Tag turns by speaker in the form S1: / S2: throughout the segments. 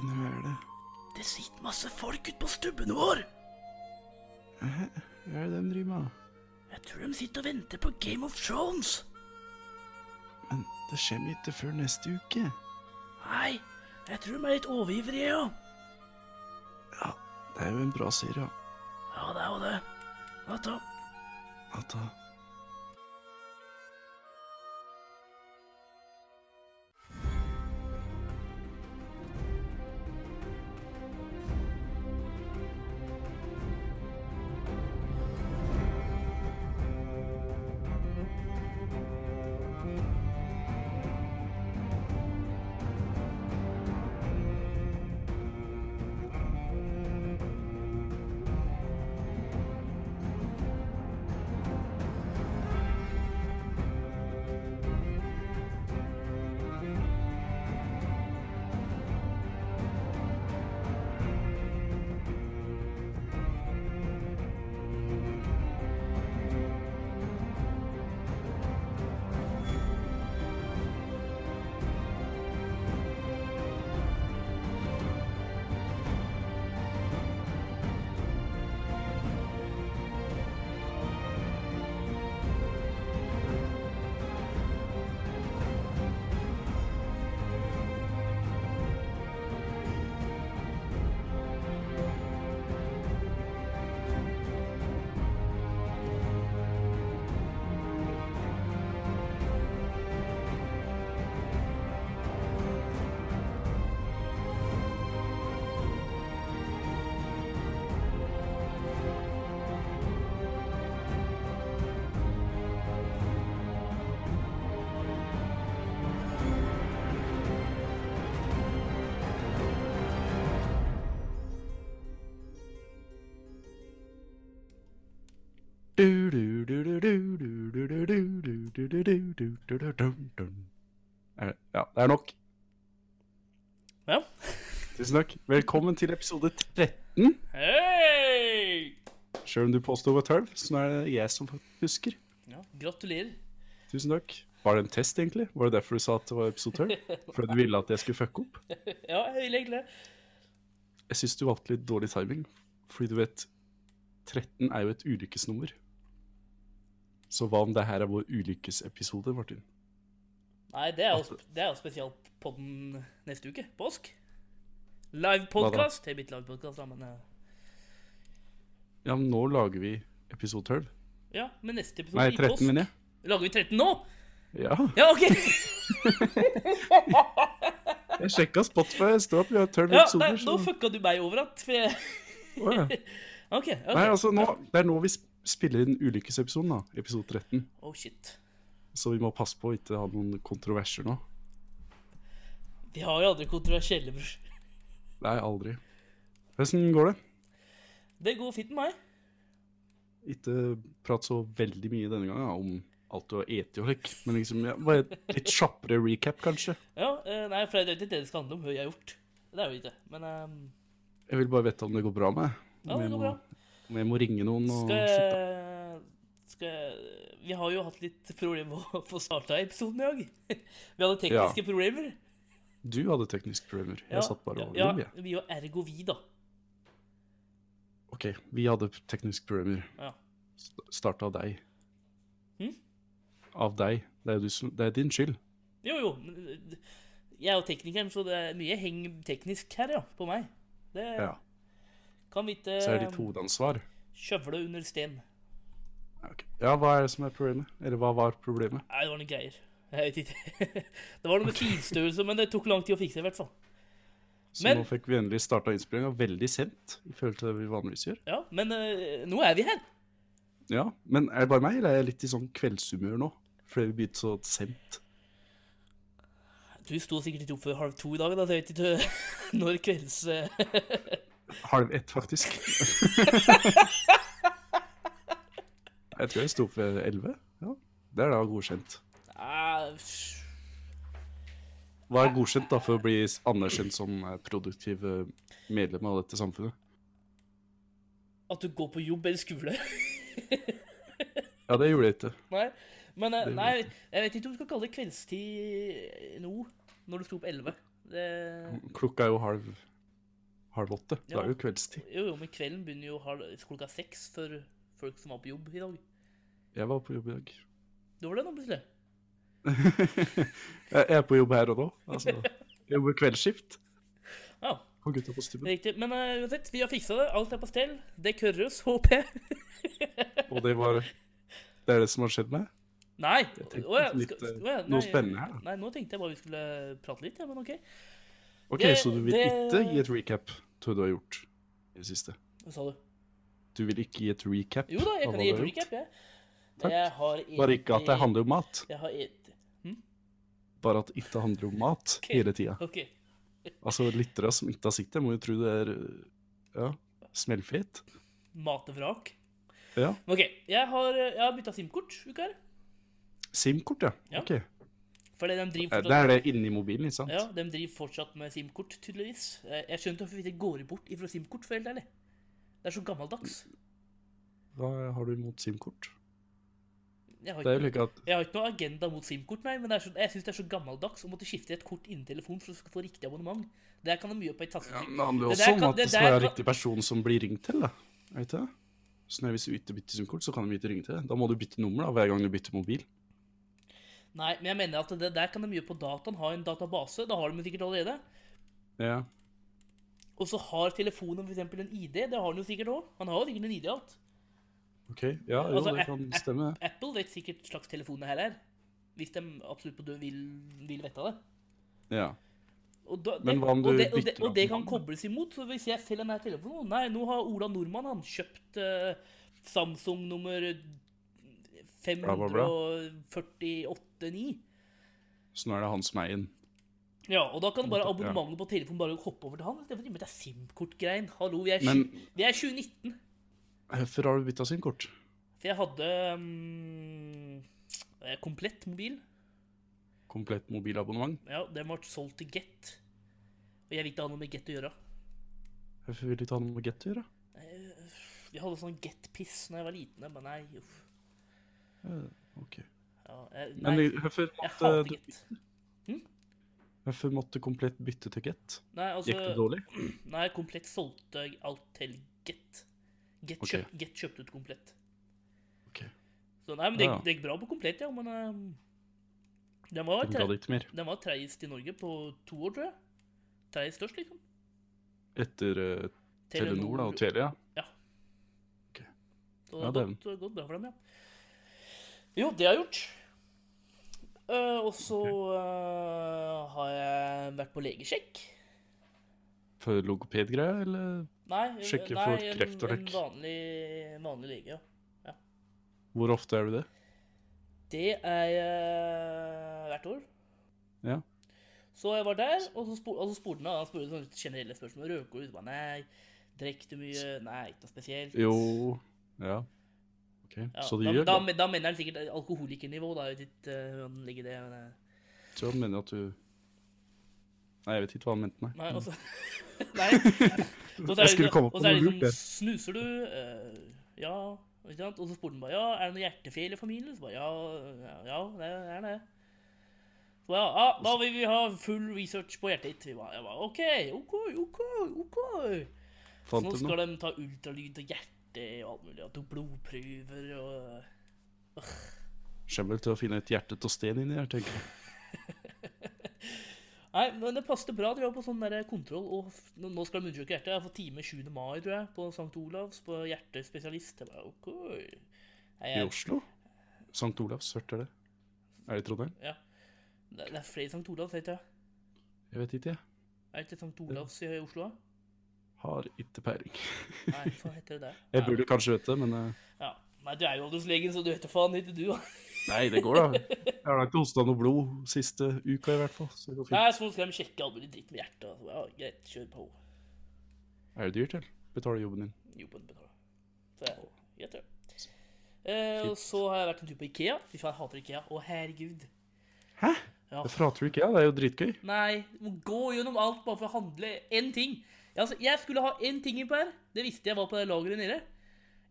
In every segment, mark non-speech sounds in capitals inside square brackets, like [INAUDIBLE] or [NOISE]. S1: Mm,
S2: Masse folk ute på stubben vår.
S1: Hva er det de driver med?
S2: Jeg tror de sitter og venter på Game of Thrones.
S1: Men det kommer ikke før neste uke.
S2: Nei, jeg tror de er litt overivrige, ja.
S1: Ja, det er jo en bra serie. ja.
S2: Ja, det er jo det. Natta.
S1: Natta. Er det, ja, det er nok.
S2: Ja.
S1: Tusen takk. Velkommen til episode 13.
S2: Hei!
S1: Selv om du påstod det var 12, så nå er det jeg som husker.
S2: Ja, gratulerer.
S1: Tusen takk. Var det en test, egentlig? Var det derfor du sa at det var episode 12? Fordi du ville at jeg skulle fucke opp?
S2: Ja, jeg vil egentlig det.
S1: Jeg syns du valgte litt dårlig timing, fordi du vet 13 er jo et ulykkesnummer. Så hva om det her er vår ulykkesepisode, Martin?
S2: Nei, det er jo, sp- det er jo spesielt podden neste uke, påsk. Live
S1: da?
S2: podcast. Det er live podcast, da, men eh,
S1: Ja, men nå lager vi episode 12.
S2: Ja, men neste episode
S1: Nei,
S2: i
S1: 13,
S2: påsk.
S1: mener jeg.
S2: Lager vi 13 nå?
S1: Ja,
S2: Ja,
S1: [LAUGHS]
S2: OK!
S1: jeg sjekka Spotify, det står at vi har 12
S2: Ja, nei,
S1: episoder.
S2: nå
S1: Så...
S2: fucka du meg over att. for jeg-
S1: Å, ja.
S2: OK. ok.
S1: Nei, altså, nå, det er nå vi sp- spiller inn ulykkesepisoden, da. Episode 13.
S2: Oh, shit.
S1: Så vi må passe på å ikke ha noen kontroverser nå.
S2: Vi har jo aldri kontroversielle bror.
S1: Nei, aldri. Hvordan går det?
S2: Det går fint med meg.
S1: Ikke prat så veldig mye denne gangen da, om alt du har eti og slik, men liksom ja, bare et litt kjappere recap, kanskje.
S2: Ja, eh, nei, for det er jo ikke det det skal handle om, hva jeg har gjort. Det er jo ikke det. Men ehm,
S1: Jeg vil bare vite om det går bra med
S2: ja,
S1: om
S2: det
S1: jeg
S2: går
S1: må,
S2: bra.
S1: Om jeg må ringe noen og
S2: Skal
S1: sjekke. opp.
S2: jeg skal jeg, Vi har jo hatt litt problemer med å få starta episoden i dag. [LAUGHS] Vi hadde tekniske problemer.
S1: Du hadde tekniske problemer. Jeg satt bare og
S2: ja,
S1: lov,
S2: ja,
S1: jeg.
S2: vi og ergo vi, da.
S1: Ok, vi hadde tekniske problemer.
S2: Ja.
S1: St- Startet av deg.
S2: Hm?
S1: Av deg. Det er, jo du som, det er din skyld.
S2: Jo, jo. men, eh, Jeg er jo teknikeren, så det er mye heng teknisk her, ja. På meg. Det
S1: Ja.
S2: kan vi ikke
S1: Så er det ditt hovedansvar.
S2: skjøvle under sten.
S1: Ja, ok. ja, hva er det som er problemet? Eller hva var problemet?
S2: Nei, det var noen greier. Jeg vet ikke. [LAUGHS] Det var noe med finstørrelse, men det tok lang tid å fikse, i hvert fall.
S1: Så
S2: Men-
S1: nå fikk vi endelig starta innspillinga veldig sent i forhold til det vi vanligvis gjør.
S2: Ja, men eh, nå er vi her.
S1: Ja, Men er det bare meg, eller er jeg litt i sånn kveldshumør nå? Fordi vi begynte så sent.
S2: Du sto sikkert ikke opp før halv to i dag, da, så jeg vet ikke [LAUGHS] når kvelds... eh,
S1: Halv ett,
S2: [LAUGHS]
S1: faktisk. jeg tror jeg sto opp ved elleve. Ja, det er da godkjent.
S2: ah, pff.
S1: Hva er godkjent da for å bli anerkjent som eh, produktiv eh, medlem av dette samfunnet?
S2: at du går på jobb eller skole. [LAUGHS]
S1: Ja, det gjorde jeg ikke.
S2: Nei, men eh,
S1: Det er
S2: nei, jeg vet ikke om du skal kalle det kveldstid nå, når du sto opp 11. Det,
S1: Klokka er jo halv halv åtte. Det
S2: Ja.
S1: er jo kveldstid.
S2: Jo, jo, men kvelden begynner jo halv, klokka seks for folk som var på jobb i dag.
S1: Jeg var på jobb i dag. [LAUGHS]
S2: Det var det nå, plutselig.
S1: Jeg jeg er på jobb her og nå. Altså, jeg jobber kveldsskift
S2: Ja,
S1: på gutta på stubben.
S2: riktig. Men eh, uansett, vi har fiksa det. Alt er på stell. Det kørres, [LAUGHS] håper jeg.
S1: Og det var Det er det som har skjedd meg.
S2: Nei!
S1: tenkte
S2: Åja,
S1: litt,
S2: skal-
S1: eh,
S2: åja,
S1: Noe
S2: nei.
S1: spennende her. da.
S2: Nei, nå tenkte jeg bare vi skulle prate litt, ja, men OK.
S1: Ok,
S2: Det-
S1: Så du vil
S2: det-
S1: ikke gi et recap til hva du har gjort i det siste?
S2: Hva sa du?
S1: Du vil ikke gi et recap?
S2: Jo da, jeg
S1: av
S2: kan
S1: hva
S2: gi
S1: du
S2: et
S1: har
S2: recap, jeg.
S1: Takk.
S2: Jeg har
S1: gjort? Bare ikke at det
S2: egentlig-
S1: handler om mat.
S2: Jeg har et...
S1: Bare at det ikke handler om mat
S2: Ok.
S1: hele tida.
S2: OK.
S1: Altså, lyttere som ikke har sett det, må jo tro det er ja, smellfet.
S2: Matevrak.
S1: Ja.
S2: Men OK. Jeg har, eh, jeg har bytta SIM-kort uka her.
S1: SIM-kort, ja.
S2: Ja.
S1: Ok.
S2: Fordi de driver
S1: Eh,
S2: fortsatt
S1: Det er det inni mobilen, ikke sant?
S2: Ja, de driver fortsatt med SIM-kort, tydeligvis. Eh, Jeg skjønner ikke hvorfor vi ikke går bort ifra SIM-kort, for helt ærlig. Det er så gammeldags.
S1: Hva har du imot SIM-kort?
S2: Jeg har
S1: Det er
S2: ikke,
S1: jo like at
S2: jeg har ikke noe agenda mot SIM-kort, nei, men det er så, jeg syns det er så gammeldags å måtte skifte et kort innen telefon for å skal få riktig abonnement. Det der kan de mye på i
S1: ja,
S2: tastetrykk.
S1: men Det handler jo
S2: Det
S1: også
S2: der
S1: om
S2: kan-
S1: at det
S2: det
S1: skal
S2: der
S1: være
S2: kan-
S1: riktig person som blir ringt til, da. Er det ikke det? Så når hvis du ikke bytter SIM-kort, så kan de ikke ringe til deg. Da må du bytte nummer da, hver gang du bytter mobil.
S2: Nei, men jeg mener at det der kan de mye på dataen. Ha en database. Da har de det sikkert allerede.
S1: Ja.
S2: Og så har telefonen f.eks. en ID. Det har den jo sikkert òg. Han har jo sikkert en ID i alt.
S1: Ok, ja, jo,
S2: Altså,
S1: det
S2: app-
S1: kan
S2: app-
S1: stemme. det.
S2: Apple vet sikkert slags telefon det her er. Hvis de absolutt på død vil, vil vite av det.
S1: Ja.
S2: Og da, det,
S1: Men hva om du
S2: og det, og det,
S1: bytter
S2: og det
S1: abonnement,
S2: kan
S1: da?
S2: kobles imot. Så hvis jeg selger denne telefonen Nei, nå har Ola Nordmann han kjøpt eh, Samsung nummer
S1: Bra, bra, bra.
S2: 5489.
S1: Så nå er det han som er inn.
S2: Ja, og da kan bare
S1: Nettopp, ja.
S2: abonnementet på telefonen bare hoppe over til han. istedenfor å drive med Det er SIM-kort-greien. Hallo, vi er,
S1: Men
S2: tju- vi er 2019.
S1: hvorfor har du bytta SIM-kort?
S2: For jeg hadde mm, eh, komplett mobil.
S1: Komplett mobilabonnement?
S2: Ja, den ble solgt til Get. Og jeg vil ikke ha noe med Get å gjøre.
S1: Hvorfor vil du ikke ha noe med Get å gjøre?
S2: Vi hadde sånn Get-piss da jeg var liten. Jeg bare, nei, uff.
S1: Ok.
S2: Ja, jeg, nei,
S1: Men hvorfor
S2: jeg
S1: måtte,
S2: hater
S1: du-
S2: Get.
S1: hvorfor måtte komplett bytte til Get?
S2: Nei,
S1: Gikk det
S2: altså,
S1: dårlig?
S2: nei, komplett solgte jeg alt til Get. Get,
S1: Ok.
S2: kjøpt, get kjøpte ut komplett.
S1: Ok.
S2: Så nei, men det,
S1: Ja.
S2: det gikk bra på komplett, ja, men ehm, den var,
S1: Du
S2: tre,
S1: ga det ikke mer?
S2: den var treist i Norge på to år, tror jeg. Treist størst, liksom.
S1: Etter eh, Telenor da, og Telia?
S2: Så
S1: Ja,
S2: det har
S1: dæven.
S2: gått, gått bra for dem, ja. Jo, det har jeg gjort. Eh, og så eh, har jeg vært på legesjekk.
S1: For logopedgreier, eller
S2: Nei,
S1: Sjekke
S2: nei,
S1: for
S2: en,
S1: kreft og
S2: en
S1: lekk.
S2: vanlig, vanlig lege, ja.
S1: hvor ofte er du det?
S2: Det er eh, hvert år.
S1: Ja.
S2: Så jeg var der, og så, spor, og så spurte han han spurte sånne generelle spørsmål. Røker du? Så bare, Nei. Drikker du mye? Nei, ikke noe spesielt.
S1: Jo Ja. Ok,
S2: Ja,
S1: så det
S2: da,
S1: gjør
S2: da,
S1: da,
S2: men- da mener han sikkert alkoholikernivå. Da jeg vet ikke eh, hvor han ligger det. Men, eh,
S1: Så han mener at du Nei, jeg vet ikke hva han mente, nei.
S2: nei, altså [LAUGHS]
S1: [LAUGHS]
S2: Nei. Og så er
S1: Mm. Jeg skulle
S2: det-
S1: komme på
S2: og så er det
S1: noe lurt
S2: liksom
S1: der.
S2: Snuser du? Eh, ja. Ikke sant? Og så spurte han bare ja, er det noe hjertefeil i familien. Så bare ja, ja, ja det er det. Så bare, ja, ah, da vil vi ha full research på hjertet ditt. Vi bare, jeg bare OK, OK, OK. ok. Så
S1: Fant
S2: nå
S1: du noe?
S2: skal de ta ultralyd og hjerte og alt mulig. Og to blodprøver og
S1: Kommer vel til å finne et hjerte av sten inni her, tenker jeg.
S2: Nei, men det passet bra. at Vi var på sånn der kontroll, og f- nå nå skal de undersøke hjertet. Jeg får time 7. mai, tror jeg, på St. Olavs, på hjertespesialist. Jeg bare, ok. Nei,
S1: I
S2: jeg,
S1: Oslo? St. Olavs, hørt er det? Er det i Trondheim?
S2: det det er flere St. Olavs, heter jeg.
S1: Jeg vet ikke, jeg.
S2: Er det ikke St. Olavs i Oslo? da?
S1: Har ikke peiling.
S2: Nei, hva faen heter det der?
S1: Jeg
S2: Nei,
S1: burde kanskje vite det, men eh,
S2: Ja. Nei, du er jo alderslegen, så du vet da faen ikke
S1: [LAUGHS]
S2: du. da.
S1: Nei, det går, da. Jeg har da ikke hosta noe blod siste uka, i hvert fall. Så det går fint.
S2: Nei, så nå skal de sjekke all mulig dritt med hjertet. og Så, bare, ja, greit, kjør på.
S1: Er det dyrt, eller? Betaler jobben din.
S2: Jo, på en betale. Så jeg, jeg tror. Eh, og så har jeg vært en tur på Ikea. Fy faen, jeg hater Ikea. Å, herregud.
S1: Hæ?
S2: Ja.
S1: Det frater du ikke jeg, det er jo dritgøy.
S2: Nei, du må gå gjennom alt bare for å handle én ting. Ja, Altså, jeg skulle ha én ting innpå her. Det visste jeg var på det lageret nede.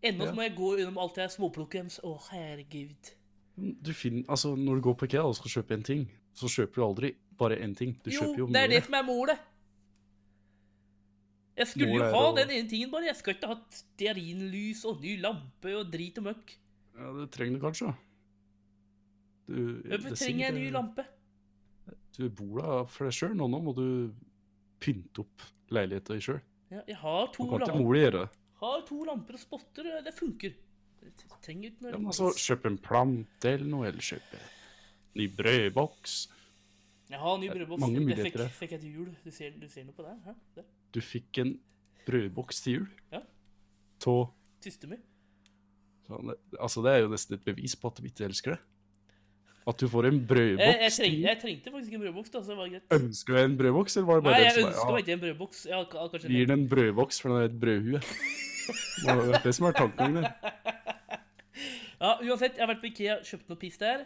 S2: Ennå
S1: Ja.
S2: så må jeg gå gjennom alt jeg småplukker hjems. Å, herregud.
S1: Du finner, altså Når du går på IKEA og skal kjøpe en ting, så kjøper du aldri bare én ting. Du
S2: Jo,
S1: kjøper jo
S2: det
S1: mye.
S2: er det som er målet. Jeg skulle jo
S1: Målet er
S2: ha
S1: å-
S2: den ene tingen, bare. Jeg skal ikke ha stearinlys og ny lampe og drit og møkk.
S1: Ja, det trenger du kanskje. Du, det er
S2: Hvorfor trenger
S1: sikkert-
S2: jeg en ny lampe?
S1: Du bor da for deg sjøl, nå, nå må du pynte opp leiligheta di sjøl.
S2: Ja, jeg har
S1: Du
S2: to,
S1: kan ikke
S2: lamper.
S1: mor di gjøre det.
S2: har to lamper og spotter, og det funker. Jeg trenger ikke noe
S1: Ja, men altså, kjøp en plante eller noe, eller kjøp en ny brødboks.
S2: Jeg har ny
S1: Det er
S2: brødboks.
S1: mange
S2: Det
S1: muligheter
S2: fikk,
S1: der.
S2: fikk jeg til jul. Du ser, du ser noe på det? Hæ? Det.
S1: Du fikk en brødboks til jul.
S2: Ja.
S1: Tå.
S2: Tyster mi.
S1: Sånn, det- Altså, det er jo nesten et bevis på at du ikke elsker det. At du får en brødboks
S2: Jeg, jeg,
S1: til
S2: trengte,
S1: jul.
S2: jeg trengte faktisk en brødboks, da, så det var greit.
S1: Ønsker du en brødboks, eller var det
S2: Nei,
S1: bare
S2: jeg
S1: den
S2: ønsker
S1: som
S2: meg
S1: var,
S2: ikke en brødboks. Jeg har, har
S1: ja,
S2: kanskje
S1: Gir den en brødboks, for den er et brødhue. Det var det som er tanken min. det.
S2: Ja, uansett, jeg har vært på Ikea, kjøpt noe piss der.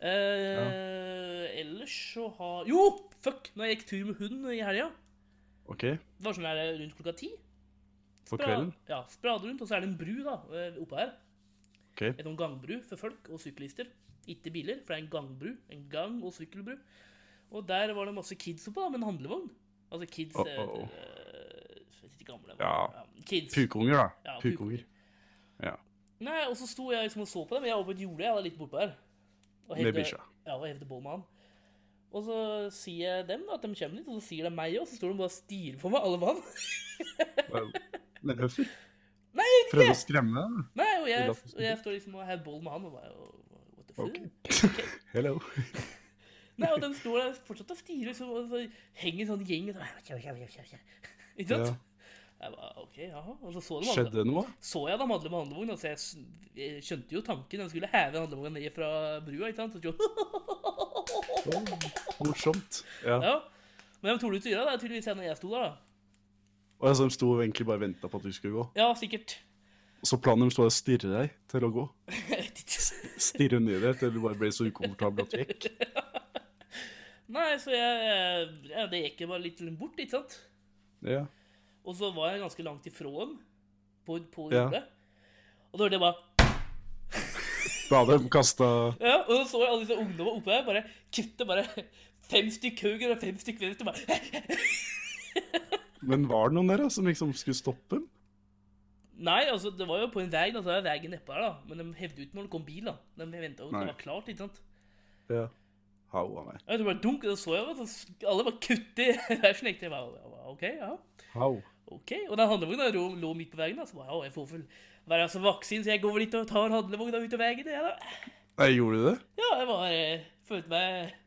S2: Eh, Ellers så har Jo, fuck! Når jeg gikk tur med hunden i helga
S1: OK,
S2: Det var sånn her rundt klokka ti.
S1: for
S2: Spra-
S1: kvelden.
S2: Ja, sprade rundt, og så er det en bru da, eh, oppå her.
S1: Ok.
S2: En sånn gangbru for folk og syklister. Ikke biler, for det er en gangbru. En gang- og sykkelbru. Og der var det masse kids oppå, da, med en handlevogn. Altså kids
S1: Oh,
S2: eh,
S1: oh, oh.
S2: eh, jeg vet ikke gamle.
S1: Ja.
S2: Kids.
S1: Pukunger, da.
S2: Ja, [LAUGHS]
S1: Pukunger. Ja.
S2: Nei, og så sto jeg liksom og så på dem. Jeg var på et jorde, jeg var litt bortpå her. Og
S1: Med
S2: hevde-
S1: bikkja.
S2: Ja, og hevde bål med han. Og så sier jeg dem da, at de kommer dit, og så sier de meg òg. Så står de bare og stirrer på meg, alle mann.
S1: Med høffer?
S2: Nei,
S1: Prøvde å skremme deg?
S2: Nei, og
S1: Vil
S2: jeg,
S1: du at vi
S2: og
S1: skal
S2: jeg står liksom og har bål med han, og bare og- What the fuck?
S1: Ok. [LAUGHS] Hello.
S2: Nei, og de står der fortsatt og stirrer, liksom, og så henger en sånn gjeng og så, «Kjør, kjør, kjør, kjør». [LAUGHS] Ikke sant?
S1: Ja.
S2: Jeg bare, ok, jaha. Og så så, de alle-
S1: Skjedde det noe?
S2: så jeg dem handle med handlevogn, altså jeg, s- jeg skjønte jo tanken. De skulle heve handlevogna ned fra brua, ikke sant? Og så,
S1: Å, morsomt. Ja.
S2: [LAUGHS] ja. Men de torde ikke å gjøre det, det er tydeligvis jeg når jeg sto der, da.
S1: Og jeg så de sto og egentlig bare venta på at du skulle gå.
S2: Ja, sikkert. [LAUGHS]
S1: Og så planen deres var å stirre deg til å gå.
S2: Jeg vet ikke.
S1: Stirre ned deg til du bare ble så ukomfortabel at du gikk.
S2: [LAUGHS] Nei, så jeg, jeg Det gikk jeg bare litt bort, ikke sant?
S1: Ja.
S2: Og så var jeg ganske langt ifra dem på, på
S1: Ja.
S2: jordet. Og da hørte jeg bare
S1: Da hadde de kasta
S2: ja, Og så så jeg alle disse ungdommene oppe her bare kutte bare fem stykk høyre og fem stykk venstre. Bare
S1: Men var det noen der da, som liksom skulle stoppe dem?
S2: Nei, altså, det var jo på en vei, da, så er veien nedpå her, da. Men de hevde ut når det kom bil, da. De venta jo til
S1: Nei.
S2: det var klart, ikke sant.
S1: Ja. Haua meg.
S2: Jeg tror bare dunk, og da så jeg bare sånn Alle bare kutte i [LAUGHS] hver sin ekte. Jeg bare, ja, OK, ja.
S1: Hau.
S2: Ok, Og den handlevogna lå, lå midt på veien, da. Så bare, ja, jeg får vel være så voksen, så jeg går vel litt og tar handlevogna ut av veien, jeg, da.
S1: Nei, gjorde du det?
S2: Ja, jeg var eh, følte meg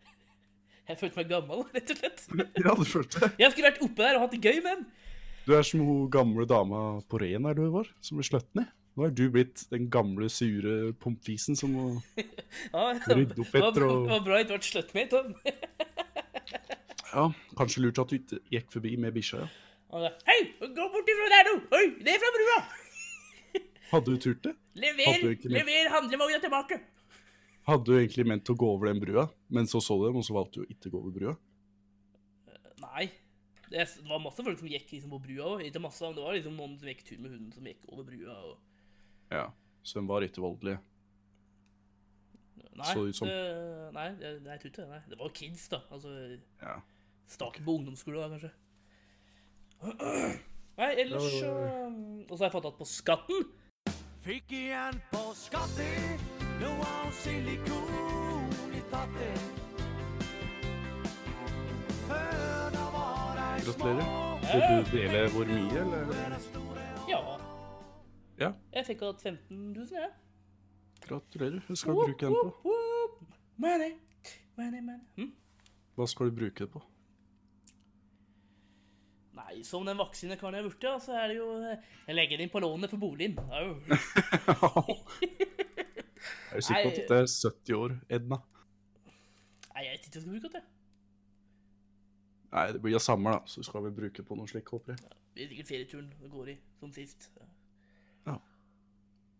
S2: [LAUGHS] Jeg følte meg gammel, rett og slett.
S1: [LAUGHS] Ja, du følte det.
S2: Jeg skulle vært oppe der og hatt det gøy med den.
S1: Du er som hun gamle dama på Ren her du var, som ble slått ned. Nå er du blitt den gamle, sure pomfisen som må
S2: Ja,
S1: Rydde opp
S2: det var-
S1: etter og-
S2: Det var bra jeg ikke ble sløtt med, Tom.
S1: Ja, kanskje lurt at du ikke gikk forbi med bikkja, ja.
S2: Han sa, Hei, gå bort ifra der nå! Oi, ned fra brua!
S1: Hadde du turt det? Hadde
S2: Lever,
S1: du ikke likt-
S2: lever handlevogna tilbake!
S1: Hadde du egentlig ment å gå over den brua, men så så du dem, og så valgte du å ikke gå over brua?
S2: Nei. Det det var masse folk som gikk liksom på brua òg. Ikke masse, men det var liksom noen som gikk tur med hunden som gikk over brua. og...
S1: Ja. Så de var ikke voldelige.
S2: Nei,
S1: Så ut som-
S2: det, nei, det, nei, jeg tror ikke det, nei. Det var jo kids, da. Altså,
S1: Ja.
S2: Starten på ungdomsskolen, da, kanskje. [CLEARS THROAT] Nei, ellers
S1: Ja,
S2: så um,
S1: ja,
S2: Og så har jeg fått tatt på skatten.
S3: Fikk igjen på skatten noe silikon i tatten. Før da var ei
S1: Gratulerer. Vil du dele hvor mye, eller?
S2: Ja.
S1: Ja,
S2: Jeg fikk hatt 15 000, jeg.
S1: gratulerer. Hva skal du bruke den på?
S2: Whoop, whoop. Money, money, money. Hm?
S1: Hva skal du bruke det [LAUGHS] på?
S2: Nei, som den voksne karen jeg har blitt, ja, så er det jo eh, Jeg legger den inn på lånet for boligen. Au.
S1: Jeg er jo sikker på at det er 70 år, Edna.
S2: [LAUGHS] Nei, jeg vet ikke hva jeg skal bruke det. til.
S1: Nei, det blir det samme, da. Så skal vi bruke på noe slikt, håper jeg.
S2: Det blir sikkert ferieturen det går i, som sist.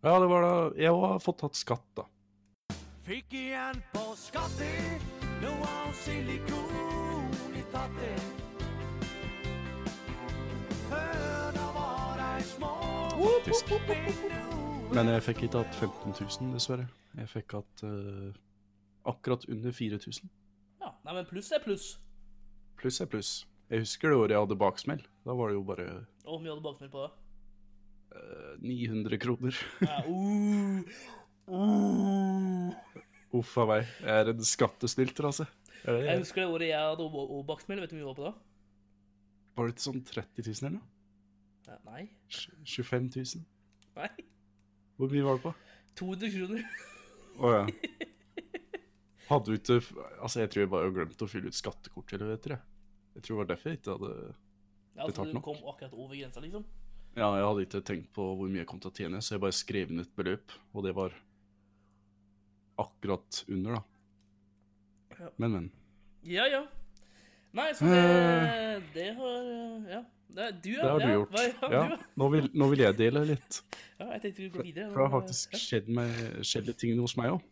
S1: Ja, det var da Jeg har fått tatt skatt, da.
S3: Fikk igjen på skatten noe silikon i tatten. Før da var ei små
S1: Faktisk.
S3: Men
S1: Men jeg fikk ikke hatt 15 000, dessverre. Jeg fikk hatt eh, akkurat under 4000.
S2: Ja, Nei, men pluss er pluss.
S1: Pluss er pluss. Jeg husker det året jeg hadde baksmell. Da var det jo bare
S2: Og hvor mye hadde baksmell på det?
S1: eh, 900 kroner. [LAUGHS]
S2: Ja, oh. uh, uh.
S1: Uff a meg. Jeg er en skattesnylter, altså. Er
S2: Jeg
S1: det,
S2: husker det året jeg hadde og- og baksmell. Vet du hvor mye det var på da?
S1: var det ikke sånn 30 000 eller noe?
S2: Ja, Nei.
S1: Tj- 25 000?
S2: Nei. [LAUGHS]
S1: Hvor mye var det på?
S2: 200 kroner.
S1: Å ja. [LAUGHS] Hadde du ikke Altså, jeg tror jeg bare glemte å fylle ut skattekortet, eller vet dere. Jeg tror det var derfor jeg ikke hadde
S2: Ja, altså,
S1: Betalt
S2: du
S1: nok.
S2: kom akkurat over grensa, liksom.
S1: Ja, jeg hadde ikke tenkt på hvor mye jeg kom til å tjene, så jeg bare skrev inn et beløp, og det var akkurat under,
S2: Ja.
S1: da. Men, men.
S2: Ja, ja.
S1: [SIGHS]
S2: Nei, så det, det har eh, Ja. Det, du, ja.
S1: Det har du
S2: ja,
S1: gjort.
S2: hva- Ja,
S1: Ja.
S2: du, ja.
S1: Nå, vil, nå vil jeg dele litt.
S2: [LAUGHS] ja, jeg tenkte vi går videre.
S1: For det har
S2: men, eh,
S1: faktisk
S2: ja.
S1: skjedd, meg, skjedd litt ting hos meg òg.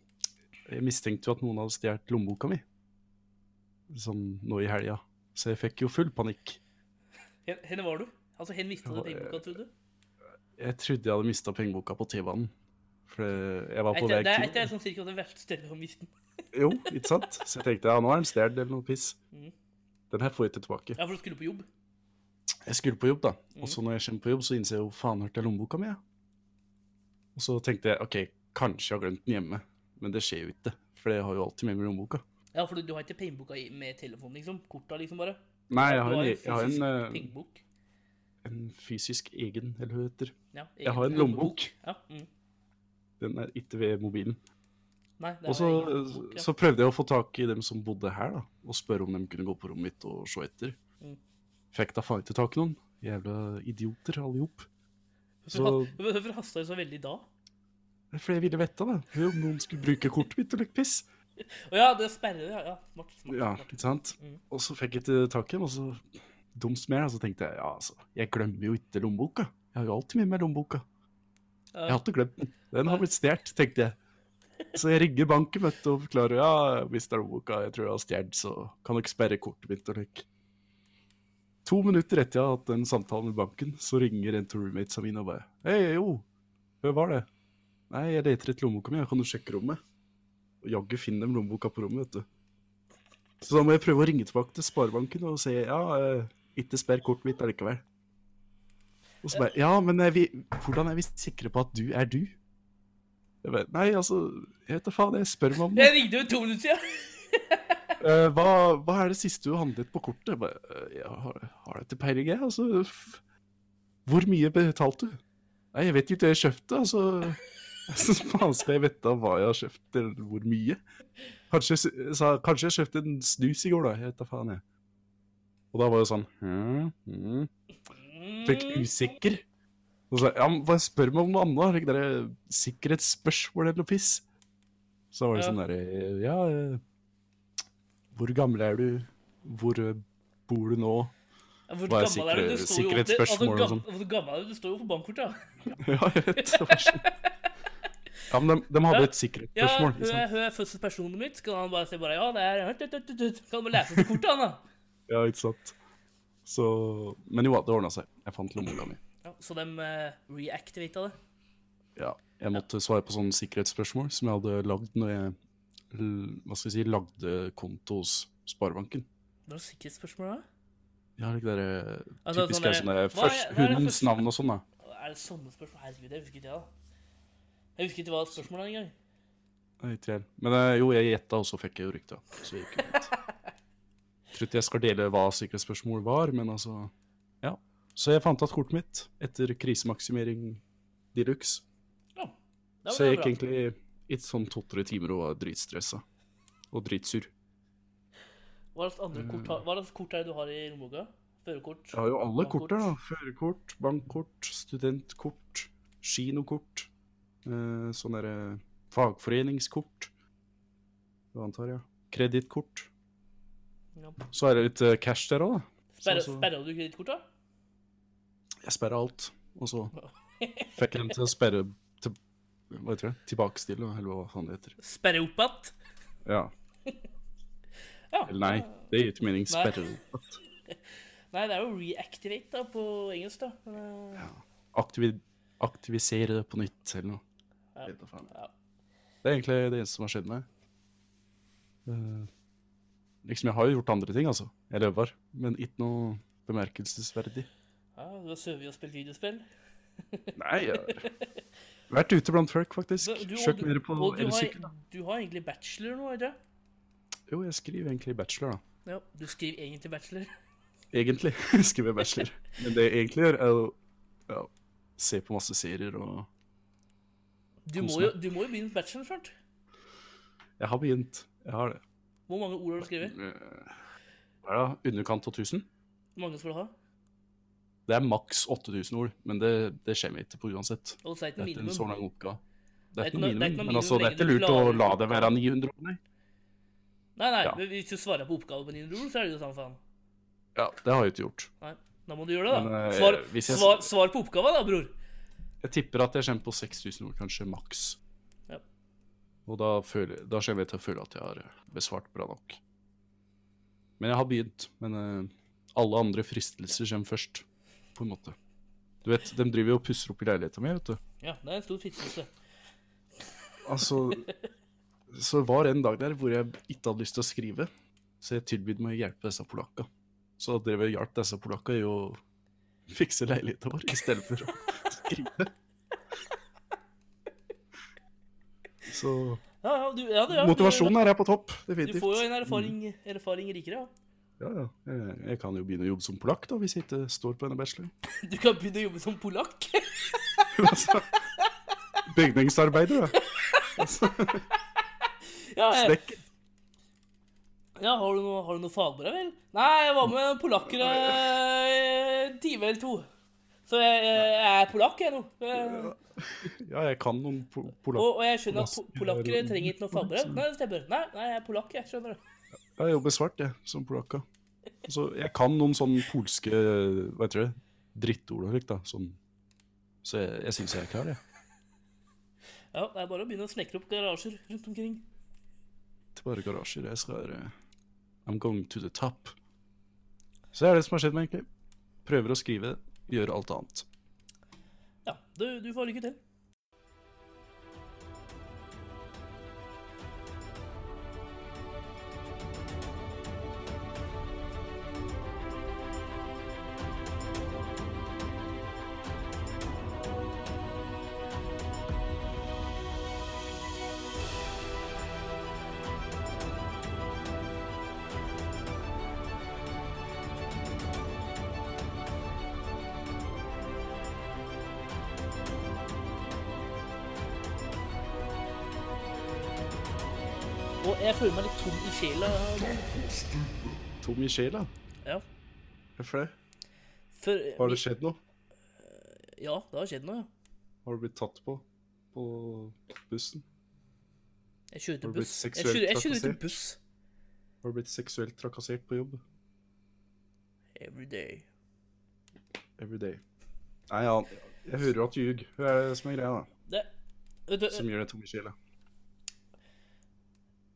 S1: Jeg mistenkte jo at noen hadde stjålet lommeboka mi, sånn nå i helga. Så jeg fikk jo full panikk.
S2: Hen- Henne var du? Altså, hen mista
S1: Ja,
S2: du pengeboka, trodde du?
S1: Jeg trodde jeg hadde mista pengeboka på T-banen. For det- jeg var på
S2: Det
S1: vei
S2: er- det er-
S1: til
S2: det er sånn cirka det verste stedet å miste den.
S1: Jo, ikke sant? Så jeg tenkte ja, nå er den stjålet eller noe piss.
S2: Mhm.
S1: Den her får jeg ikke tilbake.
S2: Ja, Mm. for du skulle på jobb.
S1: Jeg skulle på jobb, da. Og så når jeg kommer på jobb, så innser jeg jo faen hørte jeg lommeboka mi, ja. Og så tenkte jeg OK, kanskje jeg har glemt den hjemme. Men det skjer jo ikke. For jeg har jo alltid med meg lommeboka.
S2: Ja, for du, du har ikke pengeboka i- med telefonen, liksom? Korta, liksom, bare?
S1: Nei, jeg
S2: Du
S1: har en, e- jeg har
S2: fysisk
S1: en, eh,
S2: pengebok.
S1: en fysisk egen, eller hva det heter.
S2: Ja,
S1: Jeg har en
S2: egen
S1: lommebok.
S2: Ja, mm.
S1: Den er ikke ved mobilen.
S2: Nei, det er
S1: Og så,
S2: egen lommebok, ja.
S1: så prøvde jeg å få tak i dem som bodde her, da, og spørre om de kunne gå på rommet mitt og se etter.
S2: Mm.
S1: Fikk da faen ikke tak i noen. Jævla idioter, alle i hop. så-
S2: [LAUGHS] Hvorfor hvorfor hasta du så veldig da?
S1: For jeg ville vite da, om noen skulle bruke kortet mitt og leke piss.
S2: Å ja, det sperrer, ja. ja. Smart, smart,
S1: Ja,
S2: smart.
S1: ikke sant?
S2: Mm.
S1: Og så fikk jeg ikke tak i dem, og så dumst mer, og så tenkte jeg, ja, altså, jeg glemmer jo ikke lommeboka. Jeg har jo alltid med meg lommeboka.
S2: Ja.
S1: Jeg har alltid glemt den. Den har blitt stjert, tenkte jeg. Så jeg ringer banken, vet du, og forklarer, ja, hvis det er lommeboka jeg tror jeg har stjert, så kan dere sperre kortet mitt og lykke. To minutter etter jeg har hatt den samtalen med banken, så ringer en til roommatesa mine og bare, hei, jo, hva var det? Nei, jeg leter etter lommeboka mi, kan du sjekke rommet? Og jaggu finner de lommeboka på rommet, vet du. Så da må jeg prøve å ringe tilbake til Sparebanken og si ja, eh, ikke sperr kortet mitt allikevel. Og så bare Ja, men er vi, hvordan er vi sikre på at du er du? Jeg bare, Nei, altså, jeg vet da faen, jeg spør meg om det.
S2: Jeg ringte jo to minutter siden.
S1: Eh, hva, hva er det siste du handlet på kortet? Jeg bare, «Eh, jeg har, har dette peiling, jeg? Altså, f- hvor mye betalte du? Nei, jeg vet ikke, jeg kjøpte, altså. [LAUGHS] Så faen skal jeg vite hva jeg har kjøpt, eller hvor mye? Kanskje jeg, s- jeg sa, kanskje jeg kjøpte en snus i går, da. Jeg vet da faen, jeg. Og da var jeg sånn hm, hm. Litt
S2: Mm.
S1: usikker. Og så, ja, men bare spør meg om noe annet. Ikke det der sikkerhetsspørsmål eller noe piss. Så var det
S2: Ja.
S1: sånn derre Ja, eh, hvor gammel er du? Hvor eh, bor du nå? [LAUGHS]
S2: Hvor
S1: Hva er
S2: gammel er du?
S1: sikre-
S2: Det står jo- det-
S1: sikkerhetsspørsmål
S2: altså,
S1: og sånn.
S2: gam- Hvor gammel er du? Det står jo på bankkortet. da.
S1: ja, jeg vet. Det var sånn. Ja, men de, de hadde et
S2: Ja,
S1: sikkerhetsspørsmål.
S2: hun er,
S1: Liksom.
S2: hun er fødselspersonen mitt. Skal han bare si bare ja, det er hørt, hørt, hørt, hørt. Kan du bare lese på kortet, han, da?
S1: Ja, ikke sant. Så Men jo, det ordna seg. Jeg fant lommeboka mi.
S2: Ja, så de uh, reactivata det.
S1: Ja, jeg måtte svare på sånne sikkerhetsspørsmål som jeg hadde lagd når jeg l- hva skal jeg si, lagde konto hos Sparebanken.
S2: Hva er sikkerhetsspørsmålet, da?
S1: Ja, det er
S2: Altså,
S1: typisk
S2: sånn
S1: er
S2: der-
S1: sånn der
S2: hva er-
S1: først,
S2: hva er det
S1: hundens
S2: første-
S1: navn og sånn, da.
S2: Er det sånne spørsmål? Herregud, jeg husker ikke det, da. Jeg husker ikke hva spørsmålet er engang.
S1: Nei, ikke jeg. Men eh, jo, jeg gjetta, og så fikk jeg jo rykta. Så det gikk jo greit. Tror ikke jeg skal dele hva sikkerhetsspørsmål var, men altså Ja. Så jeg fant igjen kortet mitt etter krisemaksimering de luxe.
S2: Ja. det var
S1: Så jeg
S2: bra.
S1: gikk egentlig i sånn to-tre timer og var dritstressa. Og dritsur.
S2: Hva slags andre kort, har- hva slags kort er det du har i lommeboka? Førerkort?
S1: Jeg har jo alle
S2: Bankkort.
S1: korter, da. Førerkort, bankkort, studentkort, kinokort. Eh, sånn derre fagforeningskort. Det antar jeg. Kredittkort.
S2: Ja.
S1: Så er det litt eh, cash der òg, da.
S2: Sperra,
S1: Så- så-
S2: sperra du kredittkortet?
S1: Jeg sperra alt, og så
S2: [LAUGHS]
S1: fikk jeg dem til å sperre til, Hva heter det? Tilbakestille, eller hva faen det heter.
S2: Sperre opp igjen?
S1: Ja.
S2: Ja.
S1: Eller nei, det gir ikke mening.
S2: Nei.
S1: Sperre opp.
S2: Nei, det er jo reactivate da, på engelsk, da. Men, eh,
S1: Aktivi, aktivisere det på nytt, eller noe.
S2: Ja.
S1: Vet da faen.
S2: Ja.
S1: Det er egentlig det eneste som har skjedd meg. Eh, liksom, jeg har jo gjort andre ting, altså. Jeg løver, men ikke noe bemerkelsesverdig.
S2: Du har sovet og spilt videospill.
S1: Nei,
S2: [LAUGHS]
S1: jeg har vært ute blant folk, faktisk.
S2: Du- du- og
S1: Kjørt
S2: du-
S1: mer på
S2: og du har-
S1: elsykkel. da.
S2: Du har egentlig bachelor nå, ikke sant?
S1: Jo, jeg skriver egentlig bachelor, da.
S2: Ja, du skriver egentlig bachelor. [LAUGHS]
S1: Egentlig [LAUGHS] skriver jeg bachelor. Men det jeg egentlig gjør, er å ja, se på masse serier og
S2: Du må
S1: Kose
S2: jo,
S1: meg.
S2: du må jo begynne på bachelor snart.
S1: Jeg har begynt. Jeg har det.
S2: Hvor mange ord har du skrevet?
S1: Eh, Hva er det? Underkant av 1000?
S2: Hvor mange skal du ha?
S1: Det er maks 8000 ord, men det, det skjer vi ikke på uansett.
S2: Og så er
S1: Det
S2: det ikke
S1: er
S2: noe
S1: ikke en sånn- så lang
S2: minimum.
S1: oppgave. Det er
S2: Det er
S1: ikke noe
S2: ikke noe- det er
S1: minimum,
S2: ikke noe
S1: men altså, det er ikke
S2: minimum så lenge
S1: lurt å la
S2: du klarer
S1: det være 900 år, nei.
S2: Nei, nei,
S1: Ja.
S2: men hvis du svarer på oppgaven på din ord, så er det jo samme faen.
S1: Ja, det har jeg ikke gjort.
S2: Nei, da må du gjøre det, da.
S1: Men, eh,
S2: Svar,
S1: hvis jeg-
S2: svar, svar på oppgaven, da, bror.
S1: Jeg tipper at jeg kommer på 6000 ord, kanskje maks.
S2: Ja.
S1: Og da, føler, da kommer jeg til å føle at jeg har besvart bra nok. Men jeg har begynt. Men eh, alle andre fristelser kommer først, på en måte. Du vet, De driver jo og pusser opp i leiligheta mi, vet du.
S2: Ja, det er en stor fittelse.
S1: Altså Så var det en dag der hvor jeg ikke hadde lyst til å skrive, så jeg tilbød meg å hjelpe disse polakka. Så da drev jeg og hjalp disse polakka i å fikse leiligheta vår i stedet for å skrive. Så
S2: Ja, ja, du, ja, du, ja,
S1: motivasjonen
S2: du,
S1: er her på topp,
S2: Du får jo
S1: definitivt. Mm.
S2: en erfaring, erfaring rikere, ja. [LAUGHS]
S1: Ja, ja. Jeg, jeg kan jo begynne å jobbe som polakk, da, hvis jeg ikke står på denne bacheloren. [LAUGHS]
S2: Du kan begynne å jobbe som polakk. [LAUGHS]
S1: Altså, bygningsarbeider, da. Altså,
S2: Ja, jeg,
S1: snekker.
S2: ja har, du noe, har du noe fagbrev, vel? Nei, jeg var med polakker eh, en time eller to. Så jeg, jeg er polakk, jeg nå. Eh,
S1: Ja, jeg kan noen po polakk.
S2: Og, og jeg skjønner at po
S1: Polakker er-
S2: polakkere trenger ikke noe fagbrev. Nei, det stemmer. Nei, nei, jeg er polakk, jeg skjønner det.
S1: Ja, Jeg jobber svart, jeg, som polakka. Så jeg kan noen sånne polske hva heter det, drittord og slikt, da. Sånn. Så jeg, jeg syns jeg er klar, jeg.
S2: Ja, det er bare å begynne å snekre opp garasjer rundt omkring.
S1: Til bare garasjer. Jeg skal eh, I'm going to the top. Så det er det som har skjedd meg, egentlig. Prøver å skrive, gjør alt annet.
S2: Ja, du, du får lykke til. Og jeg føler meg litt tom i sjela.
S1: Tom i sjela.
S2: Ja.
S1: Hvorfor det?
S2: For,
S1: Har det skjedd noe?
S2: Ja, det har skjedd noe, ja.
S1: Har du blitt tatt på på bussen?
S2: Jeg kjørte
S1: Har du blitt
S2: buss. Jeg
S1: seksuelt
S2: kjører, jeg kjører
S1: trakassert?
S2: ikke buss.
S1: Har du blitt seksuelt trakassert på jobb?
S2: Every day.
S1: Every day. Nei, ja, jeg hører at du ljug. Hva er det som er greia, da?
S2: Det, vet du,
S1: Som gjør det tom i sjela?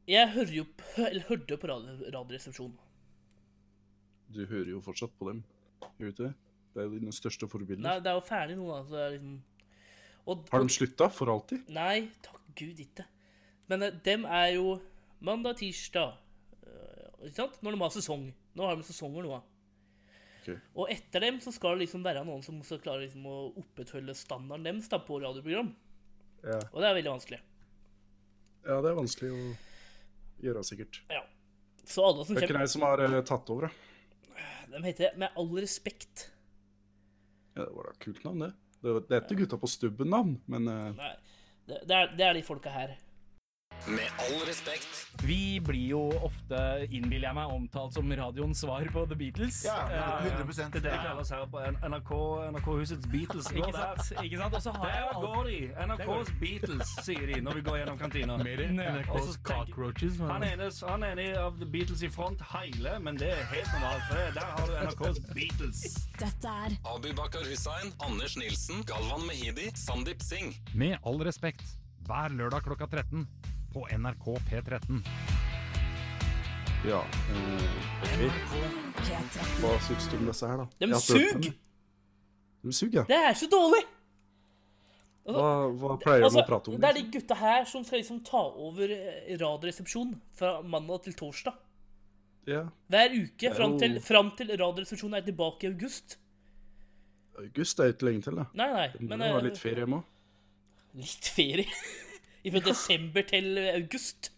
S2: jeg hører jo p- eller hørte jo på radio, radioresepsjonen.
S1: Du hører jo fortsatt på dem, gjør du ikke det? Det er jo dine største
S2: Nei,
S1: forbilder.
S2: det er jo ferdig nå, da. Så det er liksom... Og,
S1: Har de slutta for alltid?
S2: Nei, takk gud ikke. Men eh, dem er jo mandag, tirsdag. eh, Ikke sant? Når de har sesong. Nå har de sesonger nå. da.
S1: Ok.
S2: Og etter dem så skal det liksom være noen som skal klare liksom å opprettholde standarden deres da, på radioprogram.
S1: Ja.
S2: Og det er veldig vanskelig.
S1: ja, det er vanskelig å gjøre, sikkert.
S2: Ja. Så alle som
S1: Det er ikke
S2: kommer,
S1: deg som har eh, tatt over, da.
S2: de heter Med all respekt
S1: Ja, det var da et kult navn, det. Det, det er ikke gutta på stubben-navn, men eh,
S2: Nei, det, det, er, det er de folka her.
S4: Med all respekt.
S5: Vi blir jo ofte, innbiller jeg meg, omtalt som radioens svar på The Beatles. Eh,
S6: Ja, 100
S7: Det kalles her på NRK, NRK-husets Beatles.
S5: Ikke sant? Ikke sant? Og så har jeg
S7: Der
S5: jo alt...
S7: går de! NRKs Beatles, sier de når vi går gjennom kantina. NRKs
S6: cockroaches.
S7: Han ene, han ene av The Beatles i front hele, men det er helt normalt. For det- der har du NRKs Beatles.
S8: Dette er
S4: Abu Bakar Hussein, Anders Nilsen, Galvan Mehidi, Sandeep Singh.
S6: Med all respekt, hver lørdag klokka 13 på NRK P13.
S1: ja. eh, ok.
S8: P13.
S1: Hva syns du om disse her, da?
S2: De
S1: Jeg har hørt
S2: sug!
S1: dem. De suger, ja.
S2: Det er så dårlig!
S1: Hva, hva pleier de
S2: Altså,
S1: å prate om?
S2: det er de
S1: liksom?
S2: gutta her som skal liksom ta over eh, radioresepsjonen fra mandag til torsdag.
S1: liksom? Ja.
S2: Hver uke
S1: er
S2: fram
S1: jo-
S2: til, fram til Radioresepsjonen er tilbake i august.
S1: August er ikke lenge til, da.
S2: Nei, nei.
S1: Vi
S2: Men
S1: må ha
S2: eh,
S1: litt ferie hjemme òg.
S2: Litt ferie? [LAUGHS] Fra desember til august?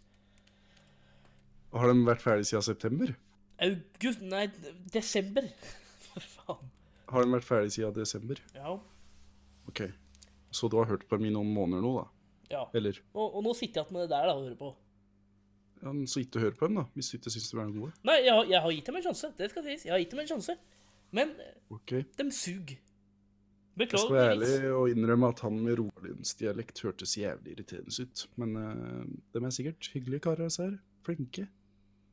S1: Har de vært ferdig siden september?
S2: August Nei, desember. [LAUGHS] For faen.
S1: Har de vært ferdig siden desember?
S2: Ja.
S1: OK. Så du har hørt på dem i noen måneder nå, da?
S2: ja.
S1: Eller
S2: Og, og nå sitter jeg igjen med det der da, å høre på.
S1: ja, men så ikke hør på dem, da, hvis du ikke syns de er noe gode.
S2: Nei, jeg, har- jeg har gitt dem en sjanse. Det skal sies. Jeg har gitt dem en sjanse. Men eh,
S1: OK. Jeg
S2: dem suger.
S1: skal være
S2: Beklager.
S1: ærlig
S2: Nils.
S1: og innrømme at han med rogalandsdialekt hørtes jævlig irriterende ut. Men uh, de er sikkert hyggelige karer, disse her. Flinke.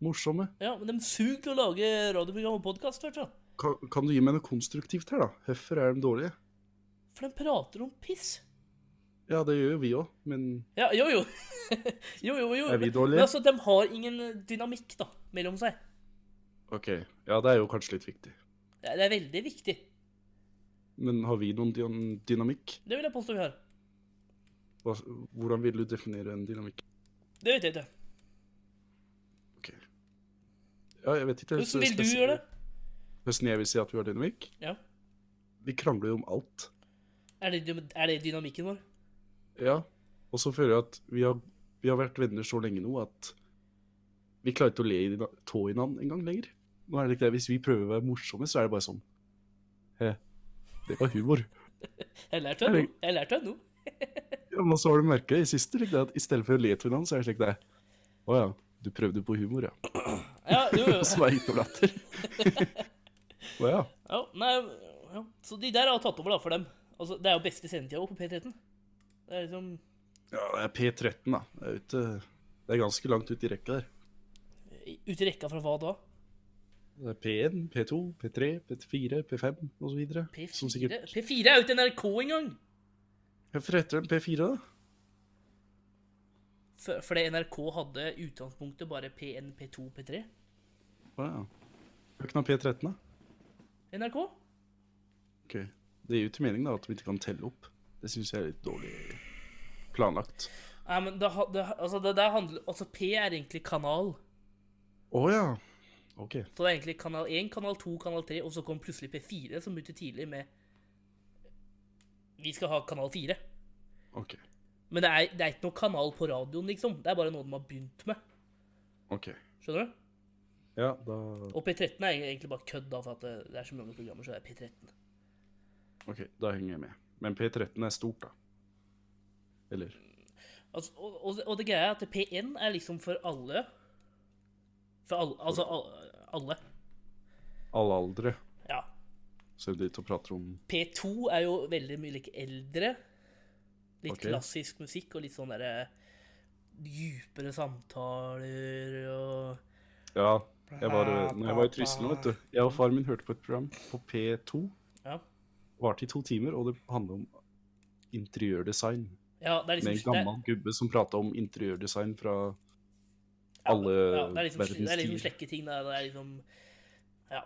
S1: Morsomme.
S2: Ja, men dem suger til å lage radioprogram og podkast, vet du.
S1: Kan, kan du gi meg noe konstruktivt her, da? Hvorfor er de dårlige?
S2: For de prater om piss.
S1: Ja, det gjør jo vi òg, men
S2: Ja, jo, [LAUGHS] jo. jo, jo, jo.
S1: Er vi
S2: Men
S1: dårlige?
S2: altså, de har ingen dynamikk da, mellom seg.
S1: OK. Ja, det er jo kanskje litt viktig.
S2: Det er- det er veldig viktig.
S1: Men har vi noen dyn- dynamikk?
S2: Det vil jeg påstå vi har.
S1: Hva, hvordan vil du definere en dynamikk?
S2: Det vet jeg ikke.
S1: Ok. Ja, jeg vet ikke.
S2: Hvordan vil du gjøre det?
S1: Hvordan jeg vil si at vi har dynamikk?
S2: Ja.
S1: Vi krangler jo om alt.
S2: Er det, dym- er det dynamikken vår?
S1: Ja. Og så føler jeg at vi har, vi har vært venner så lenge nå at vi klarer ikke å le i dyna- tå i hverandre engang lenger. Nå er det ikke det. Hvis vi prøver å være morsomme, så er det bare sånn. He. Det var humor.
S2: Jeg lærte det nå. Jeg lærte det nå.
S1: Ja, men så har du merket i siste, slik det at i stedet for å le til hverandre, så er det slik det er. Å ja, du prøvde på humor, [LAUGHS] ja.
S2: Ja, jo, jo.
S1: Og så var jeg ikke noe [LAUGHS] latter. Å ja.
S2: Ja, nei, ja. Så de der har tatt over da, for dem. Altså, det er jo beste sendetida også på P13. Det er liksom
S1: Ja, det er P13, da. Det er, ute, det er ganske langt ut i rekka der.
S2: ute i rekka fra hva da?
S1: Det er P1, P2, P3, P4, P5 osv. Som
S2: P4?
S1: sikkert
S2: P4 er jo ikke NRK engang!
S1: Hvorfor heter den P4, da?
S2: For- Fordi NRK hadde i utgangspunktet bare P1, P2, P3.
S1: Å ja. Høkken av P13, da?
S2: NRK?
S1: Ok. Det gir jo til mening da, at vi ikke kan telle opp. Det syns jeg er litt dårlig planlagt.
S2: Nei, men det, ha- det, altså, det der handler Altså, P er egentlig kanal.
S1: Å ja. OK.
S2: Så det er egentlig kanal 1, kanal 2, kanal 3, og så kom plutselig P4, som begynte tidlig med Vi skal ha kanal 4.
S1: ok,
S2: Men det er, det er ikke noe kanal på radioen, liksom. Det er bare noe de har begynt med.
S1: ok.
S2: Skjønner du?
S1: Ja, da
S2: Og P13 er egentlig bare kødd, da, for at det, det er så mange programmer, så det er P13.
S1: Ok, da henger jeg med. Men P13 er stort, da. Eller
S2: Altså, og, og, og det greia er at P1 er liksom for alle. For alle Altså al- alle.
S1: alle aldre.
S2: Ja.
S1: Så er vi ute og prater om
S2: P2 er jo veldig mye like eldre. Litt
S1: Ok.
S2: klassisk musikk og litt sånn derre dypere samtaler og
S1: Ja. Jeg var, når jeg var i Trysil nå, vet du Jeg og far min hørte på et program på P2.
S2: Ja.
S1: Varte i to timer, og det handla om interiørdesign.
S2: Ja, det er
S1: Med en
S2: liksom
S1: gammel gubbe som prata om interiørdesign fra alle
S2: ja, det er liksom,
S1: verdens
S2: det er liksom
S1: tider.
S2: slekke ting. da. Det er liksom ja,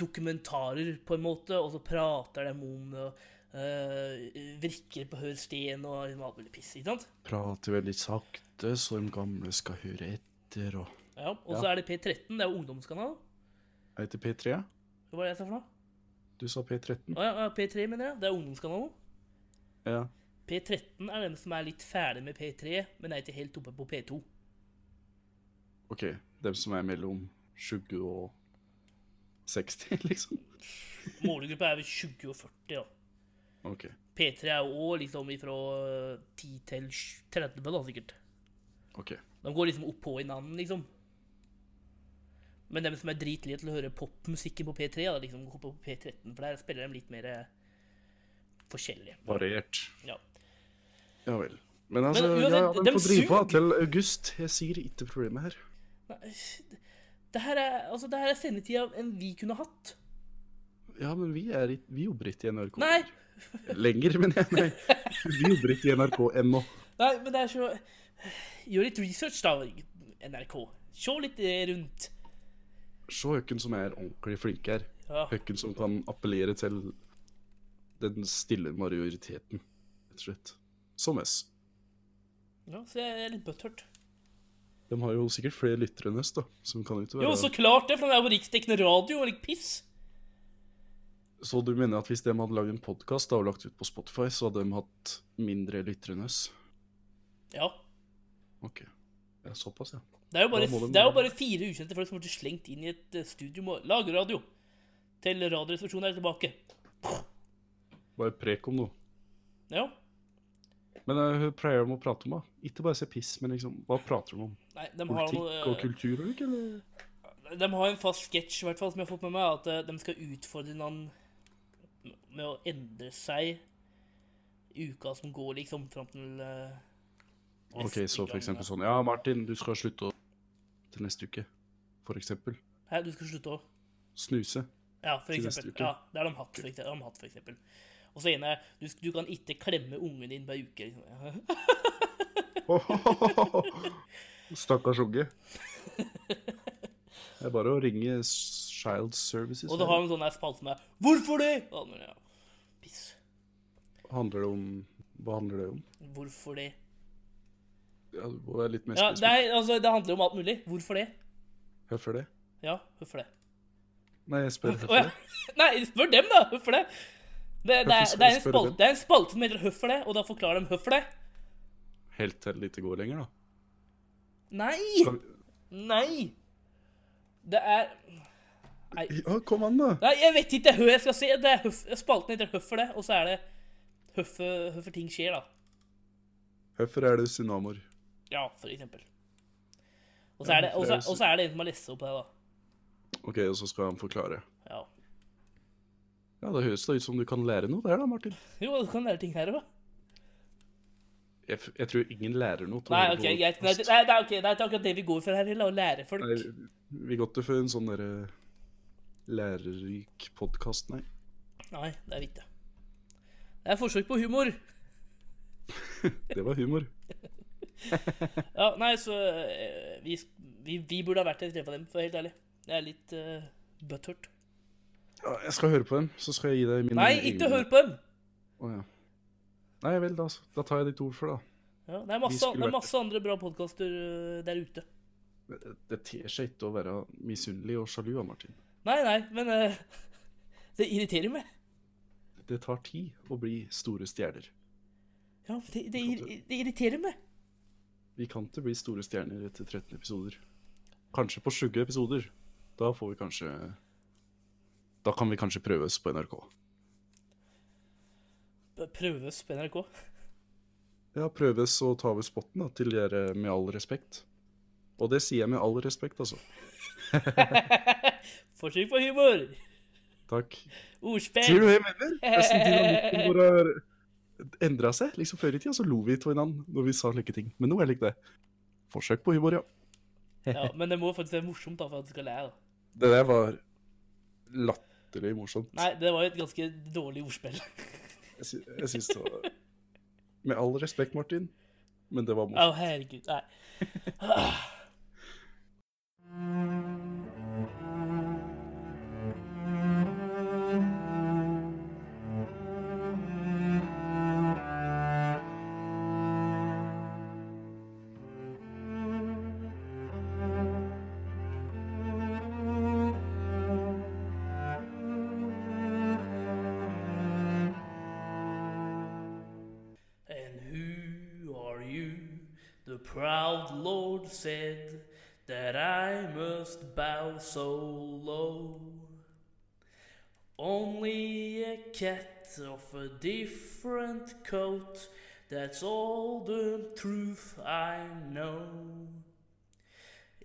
S2: dokumentarer, på en måte, og så prater de om det. og, øh, virker på hør sten og liksom alt mulig piss, ikke sant?
S1: Prater veldig sakte, så de gamle skal høre etter, og
S2: Ja, og så er det P13, det er jo ungdomskanal.
S1: Jeg heter P3, ja?
S2: Hva var det jeg sa for noe?
S1: Du sa P13?
S2: Å ja, ja, P3 mener jeg. Det er ungdomskanalen.
S1: Ja.
S2: P13 er den som er litt ferdig med P3, men er ikke helt oppe på P2.
S1: OK. Dem som er mellom 20 og 60, [LAUGHS] liksom?
S2: Målgruppa er vel 20 og 40, da.
S1: OK.
S2: P3 er jo også liksom ifra øh, 10 til 30, da, sikkert.
S1: ok.
S2: De går liksom oppå i navn, liksom. Men dem som er dritlige til å høre popmusikken på P3, da, liksom går på P13, for der spiller de litt mer eh, forskjellig.
S1: Variert.
S2: Ja.
S1: Ja vel. Men altså,
S2: uansett,
S1: ja, ja, de
S2: dem
S1: får drive på
S2: suger.
S1: til august. Jeg sier ikke problemet her.
S2: Nei, det her er, altså, det her er sendetida enn vi kunne hatt.
S1: Ja, men vi, er, i- vi jobber ikke i NRK
S2: Nei,
S1: lenger, men jeg, nei. Vi jobber ikke i NRK ennå.
S2: nei, men det er så Gjør litt research, da, NRK. Se litt eh, rundt.
S1: Se høkken som er ordentlig flink her.
S2: Ja.
S1: Høkken som kan appellere til den stille majoriteten, rett og slett. Som oss.
S2: ja, så jeg er litt butthurt.
S1: De har jo sikkert flere lyttere enn oss, da. Som kan jo ikke
S2: Jo,
S1: være
S2: så klart det, for den er jo på riksdekkende radio og litt piss.
S1: Så du mener at hvis de hadde lagd en podkast og lagt ut på Spotify, så hadde de hatt mindre lyttere enn oss?
S2: Ja.
S1: Ok. Ja, såpass, ja.
S2: Det er jo bare,
S1: Da må de-
S2: det er jo bare fire ukjente folk som ble slengt inn i et eh, studio med å lage radio. Til Radioresepsjonen er tilbake.
S1: Bare prek om noe.
S2: Ja.
S1: Men eh, hva pleier de å prate om, da? Ikke bare se piss, men liksom, hva prater de om?
S2: Nei, de har noe
S1: Politikk og
S2: eh,
S1: kultur, og ikke, eller?
S2: De har en fast sketsj i hvert fall, som jeg har fått med meg, at eh, de skal utfordre noen med å endre seg i uka som går, liksom, fram til eh,
S1: Ok,
S2: neste
S1: så for
S2: gang.
S1: eksempel sånn Ja, Martin, du skal slutte å til neste uke. For eksempel.
S2: Hæ, du skal slutte å
S1: Snuse.
S2: [LAUGHS] Ja, for
S1: Til neste
S2: eksempel.
S1: uke.
S2: Ja, det har de hatt, for eksempel. De har hatt, for eksempel. Og så ene er du, du kan ikke klemme ungen din hver uke. Liksom. [LAUGHS]
S1: Stakkars unge. Det er bare å ringe S- Child Services.
S2: Og så har de en sånn her spalte som er 'Hvorfor det?' Og, ja. Piss.
S1: Handler det om Hva handler det om?
S2: Hvorfor det?
S1: Ja, du må være litt mer
S2: Ja,
S1: spesifikk.
S2: det, er, altså, det handler om alt mulig. Hvorfor det?
S1: Hvorfor det?
S2: Ja, hvorfor det?
S1: Nei, jeg spør
S2: Å,
S1: hvorfor
S2: ja.
S1: det.
S2: Nei, spør dem, da! Hvorfor det? Det, det, er,
S1: Hvorfor
S2: det, er en
S1: spør du
S2: spalte,
S1: dem?
S2: det er en spalte som heter 'Hvorfor det', og da forklarer de hvorfor det.
S1: Helt til det ikke går lenger, da.
S2: Nei!
S1: Skal vi...
S2: Nei! Det er
S1: Ja, kom an, da.
S2: Nei, jeg vet ikke hva jeg skal si. Det er høf, spalten heter 'Hvorfor det', og så er det hvorfor hvorfor ting skjer, da.
S1: Hvorfor er det tsunamier?
S2: Ja, for eksempel. Og så er det, og så- og så er det en som har lest opp det, da.
S1: OK, og så skal han forklare.
S2: Ja.
S1: Ja, Det høres da ut som du kan lære noe der, da, Martin.
S2: Jo, du kan lære ting her òg.
S1: Jeg, f jeg tror ingen lærer noe. til å
S2: Nei,
S1: høre
S2: OK,
S1: på
S2: greit. Nei,
S1: podcast.
S2: det, nei, det er ok, det er akkurat det vi går for her, heller, å lære folk.
S1: Nei, vi går ikke for en sånn derre lærerik podkast, nei.
S2: Nei, det er vi ikke. Det er forsøk på humor.
S1: Det var humor.
S2: Ja, nei, så eh, vi, vi, vi burde ha vært et treff av dem, for å være helt ærlig. Jeg er litt uh, butthurt.
S1: Ja, jeg skal høre på dem, så skal jeg gi deg min
S2: Nei, ikke hør på dem!
S1: Å, ja. Nei vel, da, da tar jeg ditt ord for det.
S2: Ja, det er
S1: Vi
S2: masse,
S1: skulle
S2: det er
S1: vært
S2: masse andre bra podkaster der ute.
S1: da. Det ter seg ikke å være misunnelig og sjalu av Martin.
S2: Nei, nei, men eh, [LAUGHS] det irriterer meg.
S1: Det tar tid å bli store stjerner.
S2: Ja, det, det, ir- det irriterer meg.
S1: Vi kan ikke bli store stjerner etter 13 episoder. Kanskje på 20 episoder. Da får vi kanskje Da kan vi kanskje prøves på NRK.
S2: Prøves på NRK. [LAUGHS]
S1: Ja, prøves å ta over spotten da, til dere med all respekt. Og det sier jeg med all respekt, altså.
S2: Forsøk på humor!
S1: Takk. Sier
S2: Ordspill!
S1: du det, mener? Nesten dynamikken vår har endra seg. Liksom Før i tida så lo vi av hverandre når vi sa like ting, men nå er det ikke det. Forsøk på humor, ja.
S2: [LAUGHS] Ja, men det må faktisk være morsomt da, for at du skal le. da.
S1: Det der var latterlig morsomt.
S2: Nei, det var jo et ganske dårlig
S1: [LAUGHS]
S2: ordspill.
S1: Jeg, sy jeg syns det var Med all respekt, Martin, men det var
S2: Å,
S1: morsomt.
S2: herregud. Nei. And who are you? The proud lord said that I must bow so low. Only a cat of a different coat, that's all the truth I know.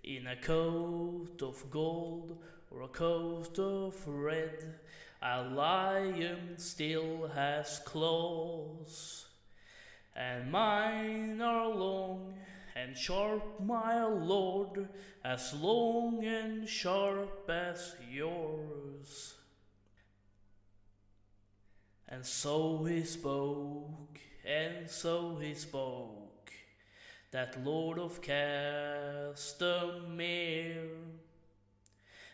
S2: In a coat of gold or a coat of red, a lion still has claws. And mine are long and sharp, my lord, as long and sharp as yours. And so he spoke, and so he spoke, that lord of Castamere.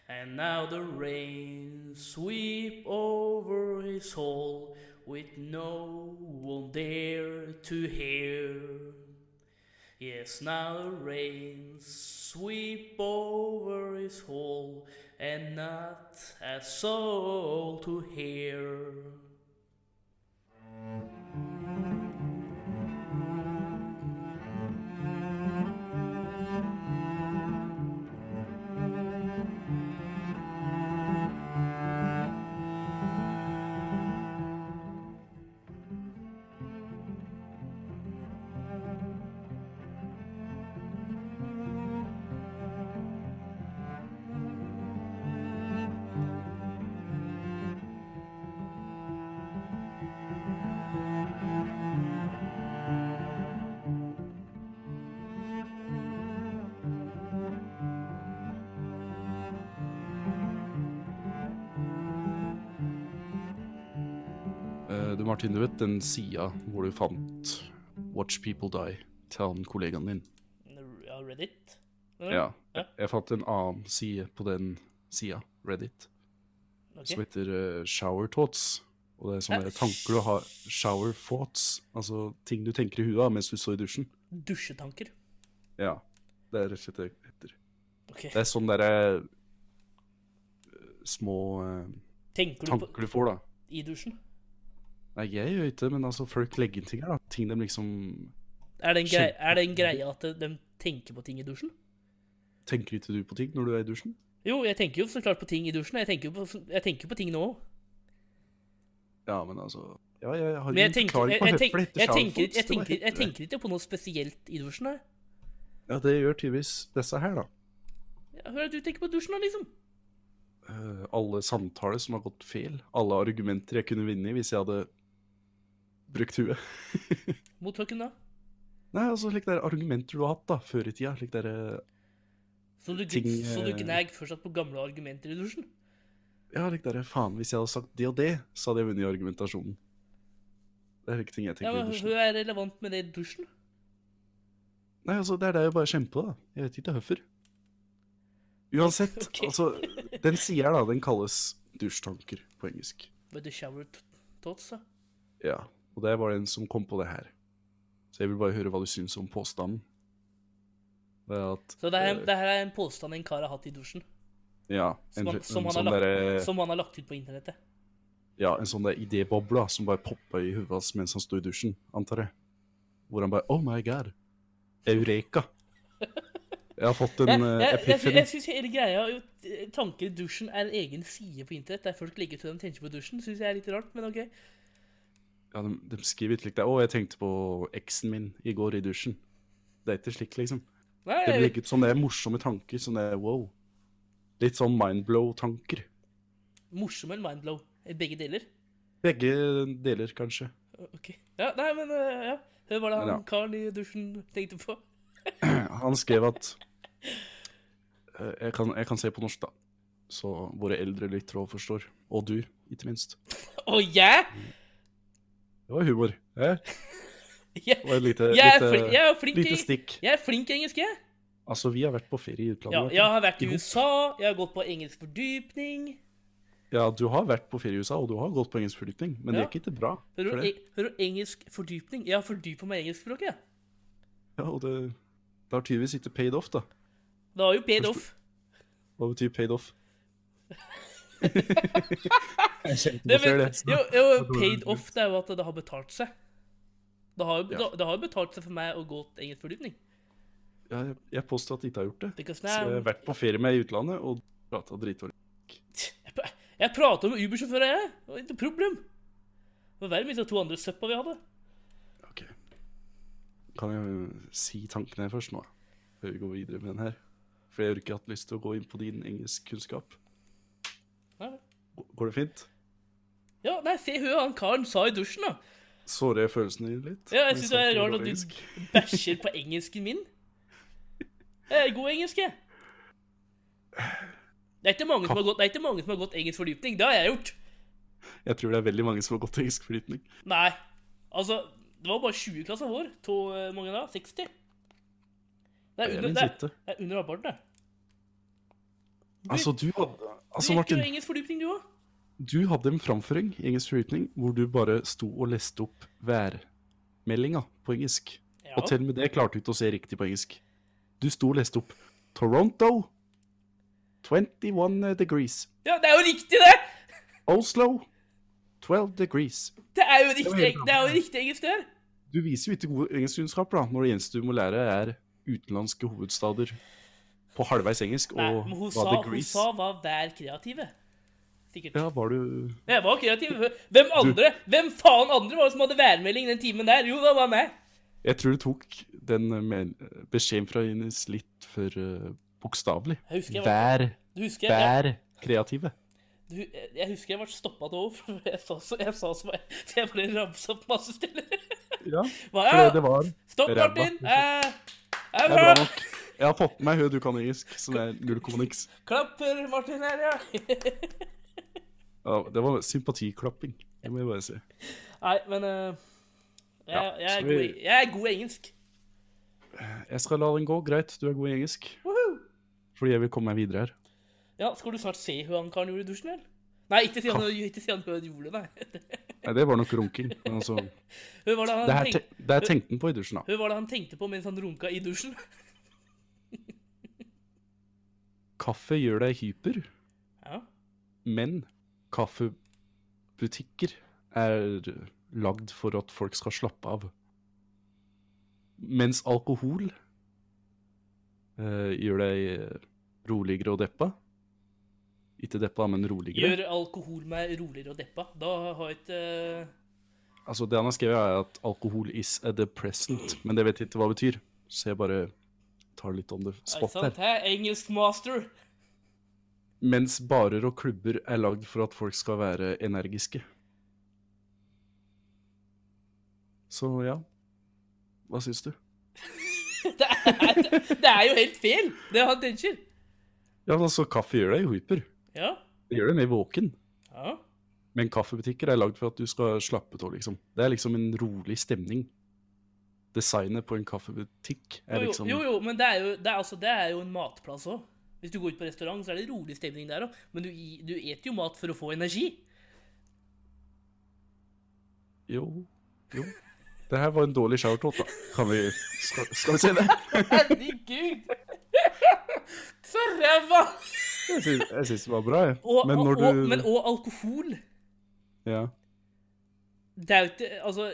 S2: And now the rain sweep over his hall with no one there to hear. Yes, now the rains sweep over his hall, and not a soul to hear.
S1: Eh, Du Martin, du vet den sida hvor du fant Watch People Die til han kollegaen din?
S2: Ja, Reddit?
S1: Ja.
S2: Ja.
S1: Jeg fant en annen side på den sida, Reddit,
S2: Ok.
S1: som heter eh, Shower Thoughts. Og det er sånne
S2: Hæ?
S1: tanker du har Shower thoughts, altså ting du tenker i huet av mens du står i dusjen.
S2: Dusjetanker.
S1: Ja. Det er rett og slett det det heter.
S2: Ok.
S1: Det er sånne derre eh, små eh,
S2: Tenker du på
S1: tanker du får, da.
S2: i dusjen?
S1: Nei, jeg gjør ikke det, men altså, folk legger inn ting her, da. Ting de liksom
S2: Er det en grei-
S1: Kjempe-
S2: er det en greie at de tenker på ting i dusjen?
S1: Tenker ikke du på ting når du er i dusjen?
S2: Jo, jeg tenker jo så klart på ting i dusjen. og Jeg tenker jo på, jeg tenker jo på ting nå òg.
S1: Ja, men altså Ja, jeg har
S2: Men jeg
S1: ingen
S2: tenker,
S1: forklaring
S2: jeg,
S1: på
S2: jeg,
S1: høfler
S2: tenker,
S1: etter
S2: jeg, tenker,
S1: Charles Fox, det var
S2: jeg, tenker, jeg
S1: helt-
S2: tenker ikke på noe spesielt i dusjen. Her.
S1: Ja, det gjør tydeligvis disse her, da.
S2: Jeg hører at du tenker på dusjen nå, liksom.
S1: Eh, alle samtaler som har gått feil. Alle argumenter jeg kunne vinne i hvis jeg hadde brukt huet.
S2: Mot hvem da?
S1: Nei, altså slik der argumenter du har hatt da, før i tida. Slik der, eh,
S2: Så du,
S1: Ting,
S2: så du
S1: eh,
S2: gnag fortsatt på gamle argumenter i dusjen?
S1: ja, slik der, faen, hvis jeg hadde sagt det og det, så hadde jeg vunnet i argumentasjonen. Det er ikke ting jeg
S2: Ja,
S1: tenker i
S2: men
S1: dusjen.
S2: Hun er relevant med det i dusjen.
S1: Nei, altså, det er det jeg bare kjenner på, da. Jeg vet ikke hvorfor. Uansett,
S2: [LAUGHS] Ok.
S1: altså, den sida her, da, den kalles dusjtanker på engelsk.
S2: But the shower t- thoughts, da.
S1: Ja, og det var den som kom på det her. Så jeg vil bare høre hva du syns om påstanden. Det er at
S2: Så det her,
S1: eh,
S2: det her er en påstand en kar har hatt i dusjen,
S1: Ja, en,
S2: som han,
S1: en
S2: som han,
S1: sånn
S2: har,
S1: derre-
S2: lagt, som han har lagt ut på internettet.
S1: ja, en sånn der idéboble da, som bare poppa i hodet hans mens han sto i dusjen, antar jeg. Hvor han bare Oh my god. Eureka. Jeg har fått en
S2: Jeg,
S1: eh,
S2: jeg, jeg,
S1: epiphany.
S2: jeg syns hele greia jo, t- tanker i dusjen er en egen side på internett, der folk legger ut det de tenker på i dusjen, syns jeg er litt rart, men OK.
S1: Ja, de, de skriver ikke slik der. Å, jeg tenkte på eksen min i går i dusjen. Det er ikke slik, liksom.
S2: Nei,
S1: Det
S2: jeg,
S1: blir ikke sånne morsomme tanker. Sånne wow. Litt sånn mindblow-tanker.
S2: morsom eller mindblow? Begge deler.
S1: Begge deler, kanskje. [CLEARS THROAT]
S2: Ok. Ja, nei, men eh, ja. Hør hva det han
S1: Ja.
S2: karen i dusjen tenkte på.
S1: Han skrev at eh, jeg kan, jeg kan se på norsk, da. Så våre eldre lyttere også forstår. Og du, ikke minst.
S2: Å, jeg?
S1: Det var humor. Eh?
S2: Jeg,
S1: Det var et lite,
S2: jeg, er
S1: Eh, lite,
S2: flink, jeg, er flink
S1: lite
S2: i,
S1: stikk.
S2: jeg er flink i engelsk, jeg.
S1: Altså, vi har vært på ferie i utlandet.
S2: Ja,
S1: Martin.
S2: jeg har vært i
S1: Jo.
S2: USA, jeg har gått på engelsk fordypning.
S1: ja, du har vært på ferie i USA, og du har gått på engelsk fordypning, men det
S2: Ja.
S1: gikk ikke bra.
S2: Hører
S1: for
S2: du
S1: det.
S2: eng- hører du engelsk fordypning? Jeg har fordypa meg i engelskspråket. jeg.
S1: Ja, og det, det har tydeligvis ikke paid off, da.
S2: Det har jo paid off.
S1: Hva betyr paid
S2: [LAUGHS]
S1: off? [LAUGHS]
S2: Det,
S1: ser
S2: men,
S1: det.
S2: jo, jo, paid off det er jo at det har betalt seg. Det har, jo-
S1: Ja.
S2: det, det har jo betalt seg for meg å gå til engelsk fordypning.
S1: Ja, jeg, jeg påstår at jeg ikke har gjort det.
S2: Because
S1: Så jeg har
S2: now,
S1: vært på ferie med i utlandet og prata dritdårlig.
S2: jeg, pra- jeg prater med Uber-sjåfører, jeg. Det var ikke noe problem. Det var verre med de to andre søppa vi hadde.
S1: Ok. Kan jeg jo si tankene her først nå, før vi går videre med den her? For jeg har ikke hatt lyst til å gå inn på din engelskkunnskap.
S2: Nei.
S1: Går det fint?
S2: Ja, nei, se hva han karen sa i dusjen, da.
S1: Sårer jeg følelsene dine litt?
S2: Ja, jeg
S1: Når
S2: synes
S1: snakker
S2: det er rart at du-
S1: engelsk?
S2: Bæsjer på engelsken min. Jeg er god i engelsk, jeg. Det er ikke mange som har gått, det er ikke mange som har gått engelsk fordypning. Det har jeg gjort.
S1: Jeg tror det er veldig mange som har gått engelsk fordypning.
S2: Nei. Altså, det var bare 20 klasser vår. To eh, mange da? 60? Det
S1: Det
S2: er
S1: er
S2: under,
S1: min
S2: det er,
S1: sitte.
S2: det er under halvparten, det.
S1: Altså, du hadde, altså,
S2: Drikker
S1: Martin,
S2: du engelsk fordypning, du òg?
S1: du hadde en framføring i engelsk fordypning hvor du bare sto og leste opp værmeldinga på engelsk.
S2: Ja.
S1: Og til og med det klarte hun ikke å se riktig på engelsk. Du sto og leste opp Toronto 21 degrees.
S2: Ja, det er jo riktig, det!
S1: Oslo 12 degrees.
S2: Det er jo riktig, det er jo riktig engelsk, det her.
S1: Du viser jo ikke gode engelskkunnskaper da, når det eneste du må lære, er utenlandske hovedstader på halvveis engelsk.
S2: Nei,
S1: og
S2: men hun
S1: hva
S2: sa, hun
S1: degrees-
S2: sa hva 'vær kreative'. Sikkert.
S1: Ja, var du
S2: Jeg var kreativ. Hvem andre? Hvem faen andre var det som hadde værmelding den timen der? Jo, det var meg.
S1: Jeg tror du tok den eh, men- beskjeden fra Ines litt for eh, bokstavelig.
S2: Jeg husker jeg var-
S1: Vær,
S2: Du husker jeg,
S1: vær kreative.
S2: du, jeg husker jeg ble stoppa av henne, for jeg sa så jeg, sa så, så jeg bare ramsa opp masse steder.
S1: Ja,
S2: Hva,
S1: for det var
S2: Stopp,
S1: ræva.
S2: Martin! Eh, det er
S1: Det er bra
S2: bra!
S1: nok. Jeg har fått med meg høy du kan engelsk, så det er null komma niks.
S2: Klapp for Martin her, ja. [LAUGHS]
S1: Ja, det var sympatiklapping, det må jeg bare si.
S2: Nei, men eh, jeg,
S1: Ja,
S2: jeg,
S1: skal
S2: er
S1: vi-
S2: god, i- jeg er god i engelsk.
S1: Jeg skal la den gå, greit, du er god i engelsk. Fordi jeg vil komme meg videre her.
S2: Ja, Skal du snart se hva han karen gjorde i dusjen, eller? Nei, ikke si han, ikke si han gjorde det, nei.
S1: Nei, det var nok runking, men altså Det
S2: Hva var det han
S1: her
S2: tenkte-
S1: te- det her tenkte han på i dusjen, da.
S2: Hva var det han tenkte på mens han runka i dusjen? [LAUGHS]
S1: Kaffe gjør deg hyper,
S2: Ja.
S1: men kaffebutikker er lagd for at folk skal slappe av. Mens alkohol eh, gjør deg roligere og deppa. Ikke deppa, men roligere.
S2: Gjør alkohol meg roligere og deppa. Da har jeg eh, ikke
S1: Altså, det han har skrevet er at alkohol is a depressant, men det vet jeg ikke hva det betyr. Så jeg bare tar litt on the
S2: Nei,
S1: spot
S2: sant,
S1: her.
S2: hæ? Engelsk master. [LAUGHS]
S1: Mens barer og klubber er lagd for at folk skal være energiske. Så ja, hva syns du?
S2: Det er, det er jo helt feil, det han tenker.
S1: Ja, men altså, kaffe gjør deg hyper.
S2: Ja.
S1: Det gjør deg mer våken.
S2: ja.
S1: Men kaffebutikker er lagd for at du skal slappe av, liksom. Det er liksom en rolig stemning. Designet på en kaffebutikk
S2: Jo,
S1: er
S2: jo,
S1: liksom
S2: jo, jo, men det er jo, det er, altså, det er jo en matplass òg. Hvis du går ut på restaurant, så er det rolig stemning der òg. Men du, i- du et jo mat for å få energi.
S1: [LAUGHS] Jo, jo. Det her var en dårlig showertåt, da. Kan vi skal, skal vi se det?
S2: Herregud! [LAUGHS] Så ræva!
S1: Jeg syns, jeg syns det var bra, jeg.
S2: Og,
S1: Men når
S2: og,
S1: du
S2: og, men og alkohol.
S1: Ja.
S2: Det er jo ikke Altså,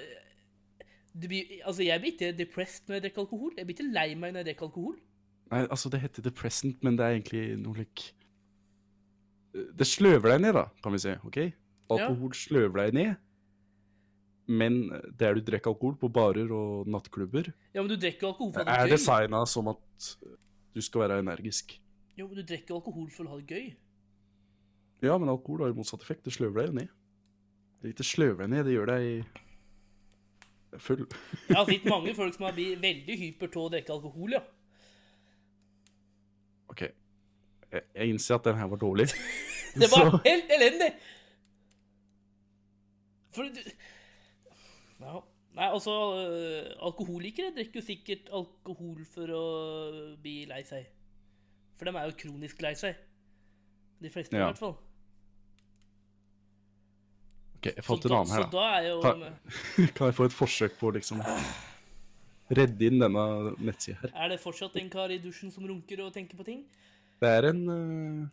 S2: du blir, altså jeg blir ikke depressed når jeg drikker alkohol. Jeg blir ikke lei meg når jeg drikker alkohol.
S1: Nei, altså, det heter The Present, men det er egentlig noe lik Det sløver deg ned, da, kan vi si. OK? Alkohol sløver deg ned. Men der du drikker alkohol, på barer og nattklubber,
S2: Ja, men du drikker jo alkohol for å ha
S1: er
S2: det gøy.
S1: designa som at du skal være energisk.
S2: Jo, men du drikker jo alkohol for å ha det gøy.
S1: Ja, men alkohol har jo motsatt effekt. Det sløver deg jo ned. Det er ikke sløver deg ned, det gjør deg full.
S2: Jeg har sett mange folk som har blitt veldig hyper til å drikke alkohol, ja.
S1: OK. Jeg, jeg innser at den her var dårlig.
S2: [LAUGHS] Det var
S1: Så-
S2: helt elendig! For du ja. Nei, altså øh, Alkoholikere drikker jo sikkert alkohol for å bli lei seg. For de er jo kronisk lei seg. De fleste, i
S1: Ja.
S2: hvert fall.
S1: Ok, jeg
S2: Så
S1: fant en
S2: da-
S1: annen her,
S2: Så
S1: da.
S2: da er jo
S1: Ta- Kan jeg få et forsøk på å liksom redde inn denne nettsida her?
S2: Er det fortsatt en kar i dusjen som runker og tenker på ting?
S1: Det er en eh,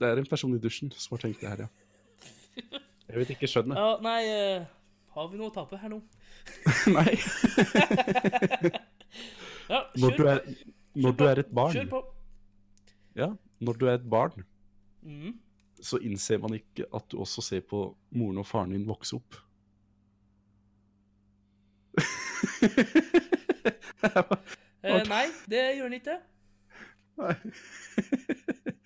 S1: Det er en person i dusjen som har tenkt det her, ja. Jeg vet ikke skjønnet.
S2: Ja, nei eh, Har vi noe å tape her nå?
S1: [LAUGHS]
S2: [LAUGHS]
S1: Nei.
S2: Ja,
S1: Når du
S2: kjør,
S1: er, når du er et
S2: kjør
S1: barn,
S2: på.
S1: ja, når du er et barn,
S2: Mhm.
S1: så innser man ikke at du også ser på moren og faren din vokse opp. [LAUGHS]
S2: Eh, nei, det gjør den ikke.
S1: Nei. [LAUGHS]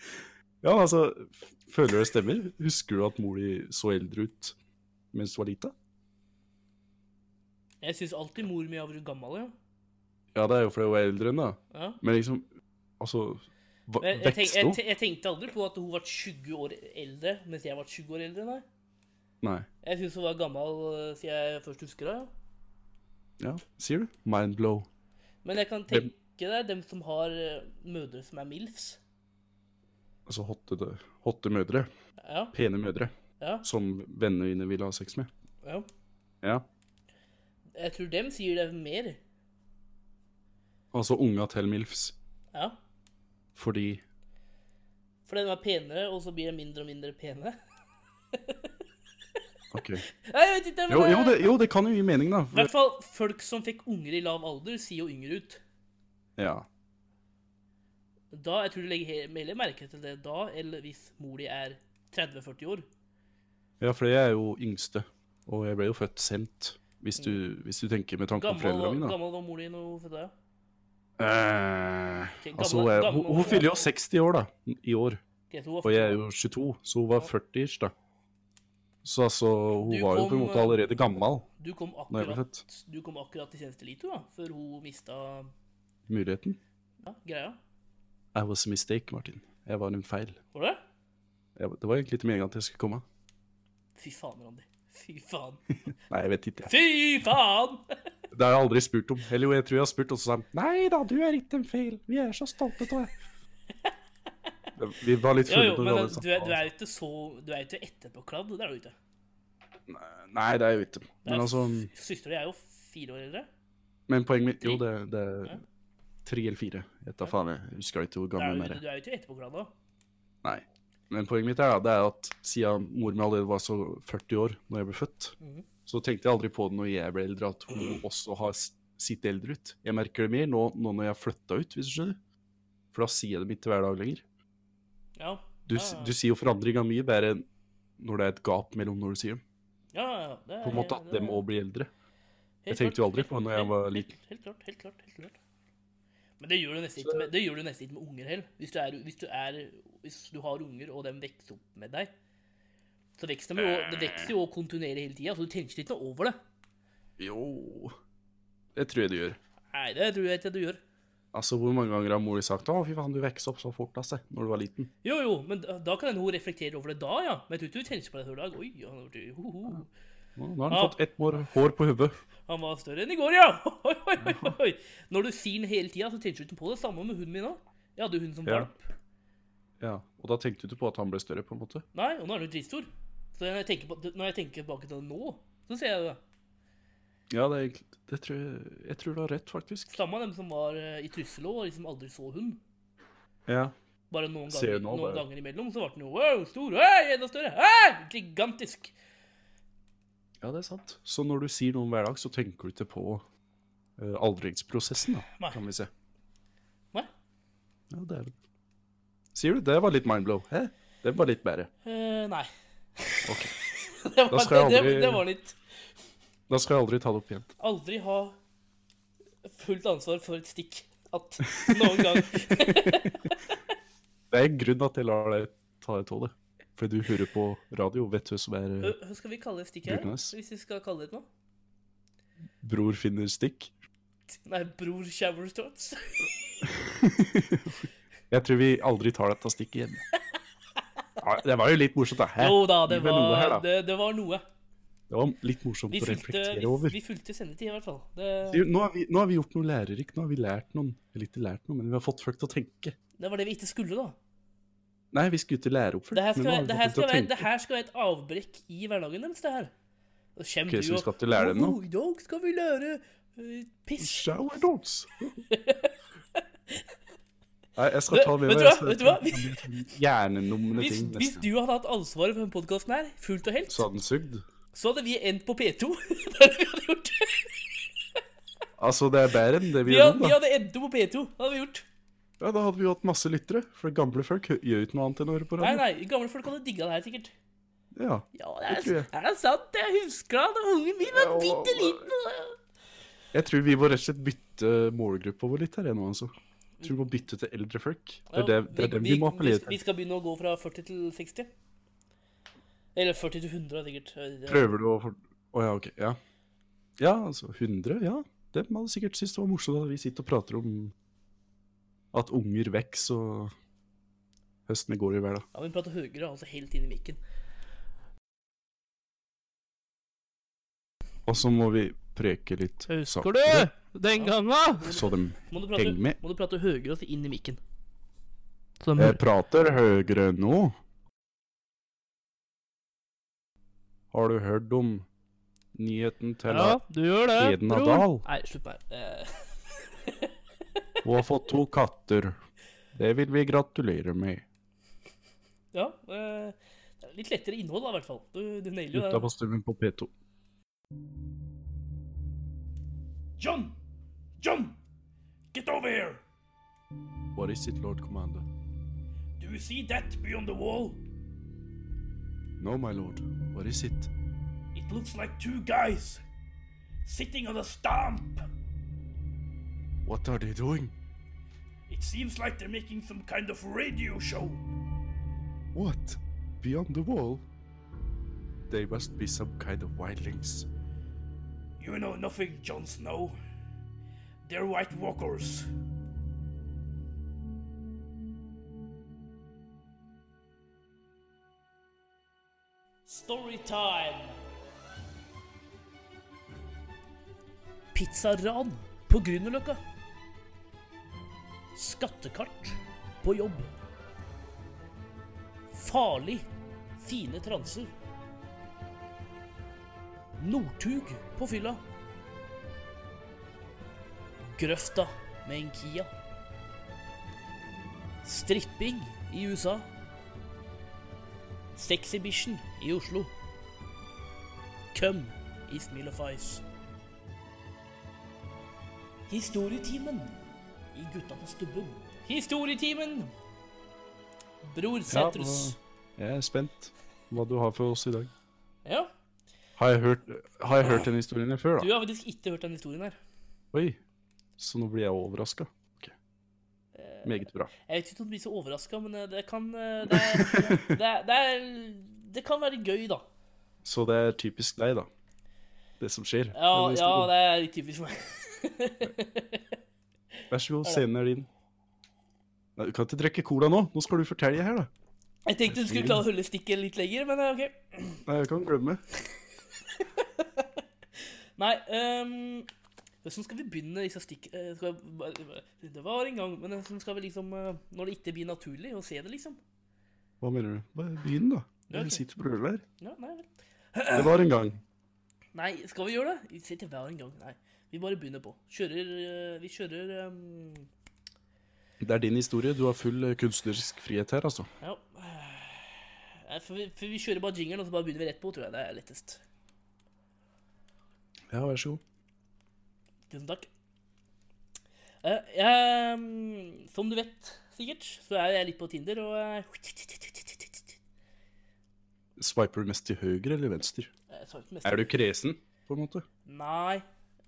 S1: ja, men altså, f- føler du det stemmer? Husker du at mor di så eldre ut mens du var lita?
S2: Jeg syns alltid mor mi har vært gammel, ja.
S1: Ja, det er jo fordi hun er eldre enn da.
S2: ja.
S1: Men liksom, altså, va-
S2: Men Jeg, tenk,
S1: vekste
S2: jeg,
S1: hun?
S2: te- jeg tenkte aldri på at hun var 20 år eldre mens jeg var 20 år eldre, nei.
S1: Nei,
S2: Jeg syns hun var gammel eh, siden jeg først husker det. Ja.
S1: ja, sier du? Mind blow.
S2: Men jeg kan
S1: Hvem-
S2: tenke deg dem som har eh, mødre som er MILFs.
S1: Altså, hotte, hotte mødre,
S2: Ja,
S1: pene mødre,
S2: ja,
S1: som vennene dine vil ha sex med.
S2: ja.
S1: Ja,
S2: Jeg tror dem sier det mer.
S1: Altså unga til Milfs.
S2: Ja.
S1: Fordi
S2: For den var penere, og så blir det mindre og mindre pene. [LAUGHS]
S1: OK.
S2: Nei, jeg vet ikke, men
S1: Jo,
S2: det-
S1: jo, det, jo, det kan jo gi mening, da.
S2: I hvert fall folk som fikk unger i lav alder, sier jo yngre ut.
S1: Ja.
S2: Da, jeg tror du legger he- heller merke til det da, eller hvis mor di er 30-40 år.
S1: ja, for jeg er jo yngste, og jeg ble jo født sent. Hvis du, hvis du tenker med tanke på
S2: Mm. Gammel,
S1: foreldra mine, da.
S2: gammel var mor di nå, for det.
S1: Eh,
S2: Ok,
S1: altså, hun,
S2: gammel-
S1: er, hun,
S2: gammel-
S1: hun fyller jo 60 år, da. I år.
S2: Ok, så hun var
S1: Og jeg er jo 22, så hun var 40 ish, da. Så altså, hun
S2: Du
S1: var jo på
S2: kom, eh,
S1: en måte allerede gammel.
S2: Du kom
S1: Når jeg ble
S2: akkurat,
S1: født.
S2: du kom akkurat til tjeneste Lito, da, før hun mista
S1: Muligheten.
S2: ja, greia.
S1: I was a mistake, Martin. Jeg var en feil.
S2: Var det?
S1: Jeg, det var egentlig ikke meningen at jeg skulle komme.
S2: Fy faen, Randi. Fy faen.
S1: Nei, jeg vet ikke. jeg.
S2: Fy faen!
S1: [LAUGHS] Det har jeg aldri spurt om. Eller jo, jeg tror jeg har spurt, og så sa han nei da, du er ikke en feil. Vi er så stolte
S2: [LAUGHS]
S1: av deg. Det- Vi var litt
S2: Jo,
S1: fulle når
S2: jo,
S1: vi
S2: men
S1: alle
S2: du er, du
S1: sammen.
S2: er jo ikke så Du er jo ikke etterpåkladd, det er du ikke.
S1: Nei, det er jo ikke.
S2: Det
S1: Men
S2: er-
S1: altså
S2: Søstera di er jo fire år eldre.
S1: Men poenget mitt Jo, det, det er tre eller fire. Jeg tar faen, jeg husker ikke hvor
S2: Det er
S1: gammel
S2: jo-
S1: jeg er.
S2: Du er jo ikke etterpåkladd da.
S1: Nei. Men poenget mitt er, det er at siden mor mi allerede var så 40 år når jeg ble født,
S2: Mhm.
S1: så tenkte jeg aldri på det når jeg ble eldre, at
S2: Mm.
S1: hun også har s- sitt eldre ut. Jeg merker det mer nå, nå når jeg har flytta ut, hvis du skjønner. For da sier jeg det ikke hver dag lenger.
S2: Ja.
S1: Du,
S2: ja, ja.
S1: du sier jo forandringa mye bedre enn når det er et gap mellom når du sier dem.
S2: Ja, ja, ja. Det er-
S1: På en måte at
S2: det er-
S1: dem òg blir eldre.
S2: helt
S1: jeg tenkte jo
S2: klart,
S1: aldri
S2: helt-
S1: på det når jeg var
S2: helt-
S1: liten.
S2: Helt, helt klart, helt klart, helt klart. Men det gjør du nesten ikke med, det gjør du nesten ikke med unger heller. Hvis du, er, hvis, du er, hvis du har unger, og de vokser opp med deg, så vokser de jo, det vokser jo og kontinuerer hele tida, så du tenker ikke noe over det.
S1: Jo Det tror jeg du gjør.
S2: Nei, det tror jeg ikke du gjør.
S1: Altså, Hvor mange ganger har mor di sagt 'Å, fy faen, du vokser opp så fort', altså, når du var liten?
S2: Jo, jo, men da da kan hende hun reflektere over det da, ja. Men jeg tror ikke hun tenker på det hver dag. Oi, han, har blitt- ho, ho.
S1: Nå, nå har han
S2: Ja.
S1: fått ett mår hår på hodet.
S2: han var større enn i går, ja! [LAUGHS] Oi, oi, oi, oi. Når du sier den hele tida, så tenker du ikke på det. Samme med hunden min òg. Jeg hadde jo hund som
S1: Ja.
S2: valp.
S1: Ja, og da tenkte du ikke på at han ble større, på en måte?
S2: Nei, og nå er du dritstor. Så når jeg tenker, på, når jeg tenker tilbake til det nå, så ser jeg det.
S1: Ja, det, er egentlig- det tror jeg, jeg tror du har rett, faktisk.
S2: Samme dem som var eh, i Trusselo og liksom aldri så hund.
S1: Ja.
S2: Bare noen
S1: Ser nå,
S2: ganger, noen
S1: bare.
S2: ganger imellom så ble den jo wow, stor, hei, enda større, hei, gigantisk.
S1: ja, det er sant. Så når du sier noe om hverdag, så tenker du ikke på eh, aldringsprosessen, da,
S2: Nei.
S1: kan vi se.
S2: Nei.
S1: Ja, det er det. Sier du? Det var litt mindblow. Hæ? Det var litt bedre.
S2: Eh, nei. [LAUGHS]
S1: Ok.
S2: det, var,
S1: Da skal jeg
S2: det, det,
S1: aldri-
S2: det var litt
S1: Da skal jeg aldri ta det opp igjen.
S2: Aldri ha fullt ansvar for et stikk. At noen
S1: [LAUGHS]
S2: gang
S1: Det er en grunn at jeg lar deg ta det tålet. For du hører på radio, vet du som er eh,
S2: Hva skal vi kalle et stikk her? da?
S1: Brukernes.
S2: Hvis vi skal kalle det noe?
S1: Bror finner stikk.
S2: Nei, Bror Showerstots.
S1: Eh, Jeg tror vi aldri tar dette stikket igjen. Ja, det var jo litt morsomt, da. Hæ?
S2: Jo da, det
S1: Gi meg noe her,
S2: var,
S1: da.
S2: det, det var noe.
S1: Det var litt morsomt
S2: Vi
S1: å
S2: fulgte,
S1: reflektere
S2: vi,
S1: over.
S2: vi fulgte sendetid, i hvert fall. Det,
S1: Jo, Nå har, vi, nå har vi gjort noe lærerikt. Nå har vi lært noen. Eller ikke lært noe, men vi har fått folk til å tenke.
S2: det var det vi ikke skulle, da.
S1: Nei, vi skulle ikke lære opp folk,
S2: Det her
S1: men
S2: skal,
S1: nå har
S2: være-
S1: vi
S2: det
S1: fått
S2: her
S1: dem til
S2: skal,
S1: å
S2: være, det
S1: tenke.
S2: her skal være et avbrekk i hverdagen deres, det her. Og kjem
S1: Ok, så
S2: du
S1: vi
S2: og-
S1: skal ikke lære dem nå?
S2: «Å, I dag skal vi lære eh, piss.
S1: Shower notes!
S2: [LAUGHS]
S1: Nei, jeg skal
S2: Du,
S1: ta med
S2: vet du hva? Vet du
S1: [LAUGHS]
S2: hva?
S1: Hjernenumne
S2: Hvis,
S1: ting,
S2: hvis
S1: nesten.
S2: du hadde hatt ansvaret for denne podkasten her, fullt og helt,
S1: Så hadde den sugd.
S2: så hadde vi endt på P2. [LAUGHS] Det hadde vi hadde gjort.
S1: Altså, det er bedre enn det vi
S2: Vi
S1: gjør
S2: hadde,
S1: nå,
S2: vi
S1: da.
S2: hadde endt opp på P2. Det hadde vi gjort.
S1: Ja, da hadde vi jo hatt masse lyttere, for gamle folk hø- gjør jo ikke noe annet enn å høre på
S2: Nei,
S1: radio.
S2: nei, gamle folk hadde digga det her, sikkert.
S1: Ja.
S2: Ja, det
S1: Det tror
S2: er,
S1: jeg.
S2: er det sant? Jeg husker da da ungen min var
S1: Ja, og-
S2: bitte liten.
S1: Jeg tror vi må rett og slett bytte målgruppa vår litt her igjen nå, altså. Jeg tror vi må bytte til eldre folk. Det er, det, det er dem vi må appellere
S2: Vi
S1: til.
S2: skal begynne å gå fra 40 til 60. Eller 40 til 100, sikkert. Det-
S1: Prøver du å for... Å ja, ok. Ja. ja, altså 100? Ja. Dem hadde sikkert syntes det var morsomt at vi sitter og prater om at unger vokser og høsten i går i hverdag.
S2: Ja, men prater høyere, altså helt inn i mikken.
S1: Og så må vi preke litt
S5: Husker
S1: saktere,
S5: du den gangen?
S1: Så dem
S2: Må du prate,
S1: Heng med.
S2: Må du prate høyere, altså inn i mikken. Eh, Så de
S1: Jeg
S2: hører.
S1: prater høyere nå. Har du hørt om nyheten til
S5: Ja, du gjør det,
S1: Eden
S5: bror.
S1: Adal?
S2: Nei, slutt med det. Eh,
S1: Hun har fått to katter. Det vil vi gratulere med.
S2: [LAUGHS] Ja. eh, det er litt lettere innhold, da, i hvert fall. Du, du nailer
S1: Gutta
S2: jo
S1: på
S2: det.
S1: stummen på P2.
S2: John! John! Get over here!
S1: What is it, lord commander?
S2: Do you see that beyond the wall?
S1: No, my lord. What is it?
S2: It looks like two guys sitting on a stump.
S1: What are they doing?
S2: It seems like they're making some kind of radio show.
S1: What? Beyond the wall? They must be some kind of wildlings.
S2: You know nothing, Jon Snow. They're White Walkers. Story time! Pizzaran på Grünerløkka. Skattekart på jobb. Farlig fine transer. Northug på fylla. Grøfta med en Kia. Stripping i USA. Sexybition i Oslo. Køm i Smil og Fais. Historietimen i Gutta på stubben. Historietimen! Bror Sætrus.
S1: Jeg er spent på hva du har for oss i dag.
S2: Ja,
S1: Har jeg hørt, har jeg hørt den historien her før,
S2: du
S1: da?
S2: har faktisk ikke hørt den historien her.
S1: Oi. Så nå blir jeg overraska.
S2: Eh.
S1: Meget bra.
S2: Jeg vet ikke om du blir så overraska, men eh, det kan eh, det, er, det, er, det, er, det kan være gøy, da.
S1: Så det er typisk deg, da. Det som skjer.
S2: Ja,
S1: Denne
S2: ja
S1: historien.
S2: det er litt typisk meg.
S1: Vær så god, scenen er din. Nei, du kan ikke drikke cola nå. Nå skal du fortelle her, da.
S2: Jeg tenkte du skulle klare å holde stikket litt lenger, men eh, OK.
S1: Nei, jeg kan glemme.
S2: Nei ehm, Hvordan skal vi begynne disse stikk... eh, skal jeg bare- bare- Det var en gang, men hvordan skal vi liksom eh, Når det ikke blir naturlig å se det, liksom?
S1: Hva mener du? Bare Begynn, da.
S2: Ja, ok.
S1: Jeg sitter og prøver her.
S2: Ja, nei vel.
S1: Det var en gang.
S2: Nei, skal vi gjøre det? Vi sitter hver en gang. Nei. Vi bare begynner på. Kjører eh, Vi kjører ehm,
S1: Det er din historie. Du har full eh, kunstnerisk frihet her, altså.
S2: Ja. Nei, For vi, for vi kjører bare jingeren, og så bare begynner vi rett på, tror jeg. Det er lettest.
S1: Ja, vær så god.
S2: Tusen takk. Eh, jeg, mm, som du vet sikkert, så er jeg litt på Tinder, og eh,
S1: Swiper du mest til høyre eller venstre?
S2: jeg sa ikke mest.
S1: Er du kresen, på en måte?
S2: Nei,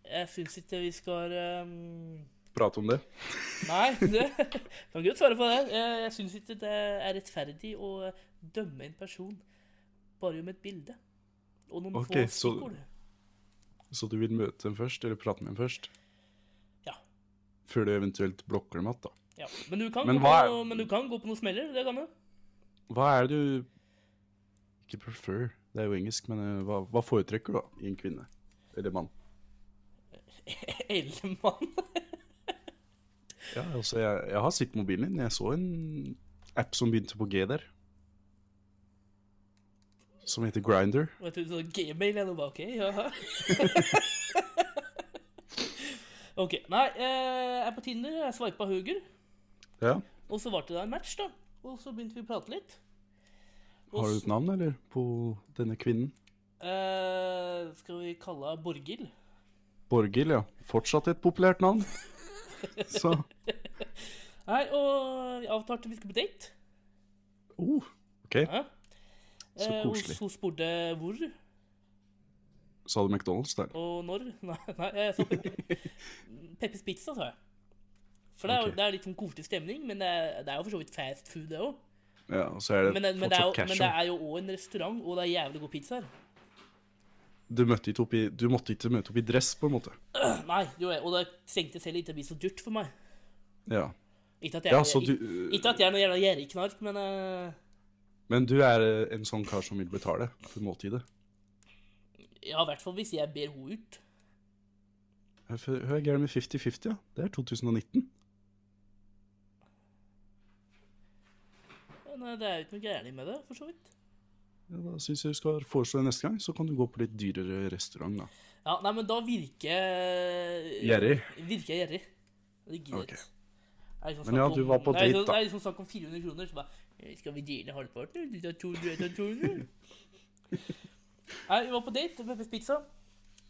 S2: jeg syns ikke vi skal ehm,
S1: Prate om det.
S2: Nei, du [LAUGHS] kan godt svare på det. Jeg, jeg syns ikke det er rettferdig å dømme en person bare med et bilde og noen
S1: Ok,
S2: få
S1: så-
S2: stikkord.
S1: Så du vil møte dem først, eller prate med dem først?
S2: Ja.
S1: Før du eventuelt blokker dem igjen, da.
S2: Ja. Men, du kan
S1: Men
S2: gå
S1: hva er-
S2: på, men du kan gå på noen smeller, det kan du. [LAUGHS]
S1: Hva er det du Ikke prefer, det er jo engelsk, men eh, hva, hva foretrekker du da i en kvinne? Eller mann?
S2: Ellemann.
S1: Ja, altså, jeg, jeg har sett mobilen din. Jeg så en app som begynte på G der. Som heter Grinder.
S2: Vet du, sånn gmail er noe bare, ok, ja. [LAUGHS] ok, nei, eh, jeg er på Tinder, jeg swipet høyre,
S1: Ja.
S2: og så var det da en match da, og så begynte vi å prate litt. Og
S1: Har du
S2: s-
S1: et navn, eller? På denne kvinnen?
S2: Eh, skal vi kalle henne Borgil?
S1: Borghild, ja. Fortsatt et populært navn. [LAUGHS] Så
S2: Nei, og vi avtalte vi skulle på date.
S1: oh, OK.
S2: Ja.
S1: Så
S2: Eh,
S1: koselig.
S2: Hun, hun spurte hvor
S1: Sa du McDonald's der?
S2: og når. [LAUGHS] Nei, nei jeg sa Pepper, Peppers Pizza, sa jeg. For det er, jo-
S1: Ok.
S2: det er litt sånn koselig stemning, men det er, det er jo for så vidt fast food det også.
S1: Ja, og så er det
S2: Men, det- men, det er,
S1: fortsatt
S2: jo- men det
S1: casual.
S2: er jo òg en restaurant, og det er jævlig god pizza her. [CLEARS THROAT]
S1: Du, møtte ikke opp i, du måtte ikke møte opp i dress, på en måte.
S2: Nei, det gjorde jeg, og det trengte selv ikke å bli så dyrt for meg.
S1: Ja.
S2: Ikke at jeg,
S1: ja så du,
S2: ikke, ikke at jeg er noe jævla gjerrigknark, men eh,
S1: men du er eh, en sånn kar som vil betale for måltidet?
S2: Ja, i hvert fall hvis jeg ber henne ut.
S1: Hør hør jeg gæren med 50-50, ja. Det er 2019.
S2: Ja, Nei, det er jo ikke noe gærent med det, for så vidt.
S1: Ja, da syns jeg du skal foreslå det neste gang, så kan du gå på litt dyrere restaurant, da.
S2: Ja, Nei, men da virker jeg
S1: Gjerrig?
S2: Virker jeg gjerrig. Det gidder jeg
S1: Ok.
S2: ikke. Det er liksom
S1: Men ja,
S2: snakk om-
S1: du var på
S2: det er
S1: date,
S2: liksom-
S1: da.
S2: Det er liksom snakk om 400 kroner, så bare eh, Skal vi dele halvparten? Du tar 200, jeg tar
S1: [LAUGHS]
S2: 200. Nei, vi var på date med Peppers Pizza.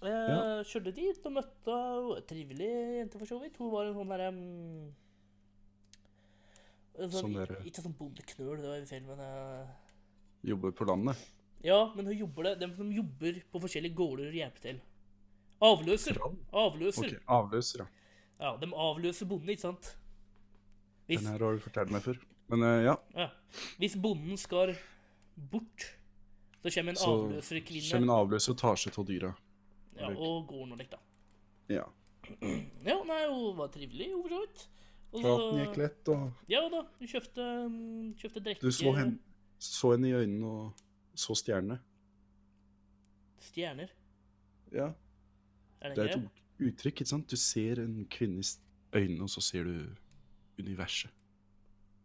S2: Eh,
S1: Ja.
S2: Kjørte dit og møtte ei trivelig jente, for så vidt. Hun var en sånn derre mm, en sånn,
S1: Sånn derre-
S2: Ikke sånn bondeknøl, det var jo feil, men eh,
S1: Jobber på landet.
S2: Ja, men hun jobber det. De som jobber på forskjellige gårder, hjelper til. Avløser. Avløser.
S1: Ok, Avløser, ja.
S2: Ja, de avløser bonden, ikke sant? Hvis,
S1: Den her har du fortalt meg før. Men eh, ja,
S2: ja. Hvis bonden skal bort, så kommer en
S1: så
S2: avløserkvinne
S1: kommer en avløser og tar seg av dyra.
S2: ja, og går noe likt, da.
S1: Ja.
S2: Ja, nei, hun var trivelig, hun for så vidt. Og så-
S1: Praten gikk lett, og
S2: Ja da, hun kjøpte, mm, kjøpte drikke.
S1: du så henne, så henne i øynene og så stjernene.
S2: Stjerner.
S1: Ja.
S2: Er det
S1: Det
S2: ikke
S1: er et
S2: det?
S1: ut- uttrykk, ikke sant? Du ser en kvinnes øyne, og så ser du universet.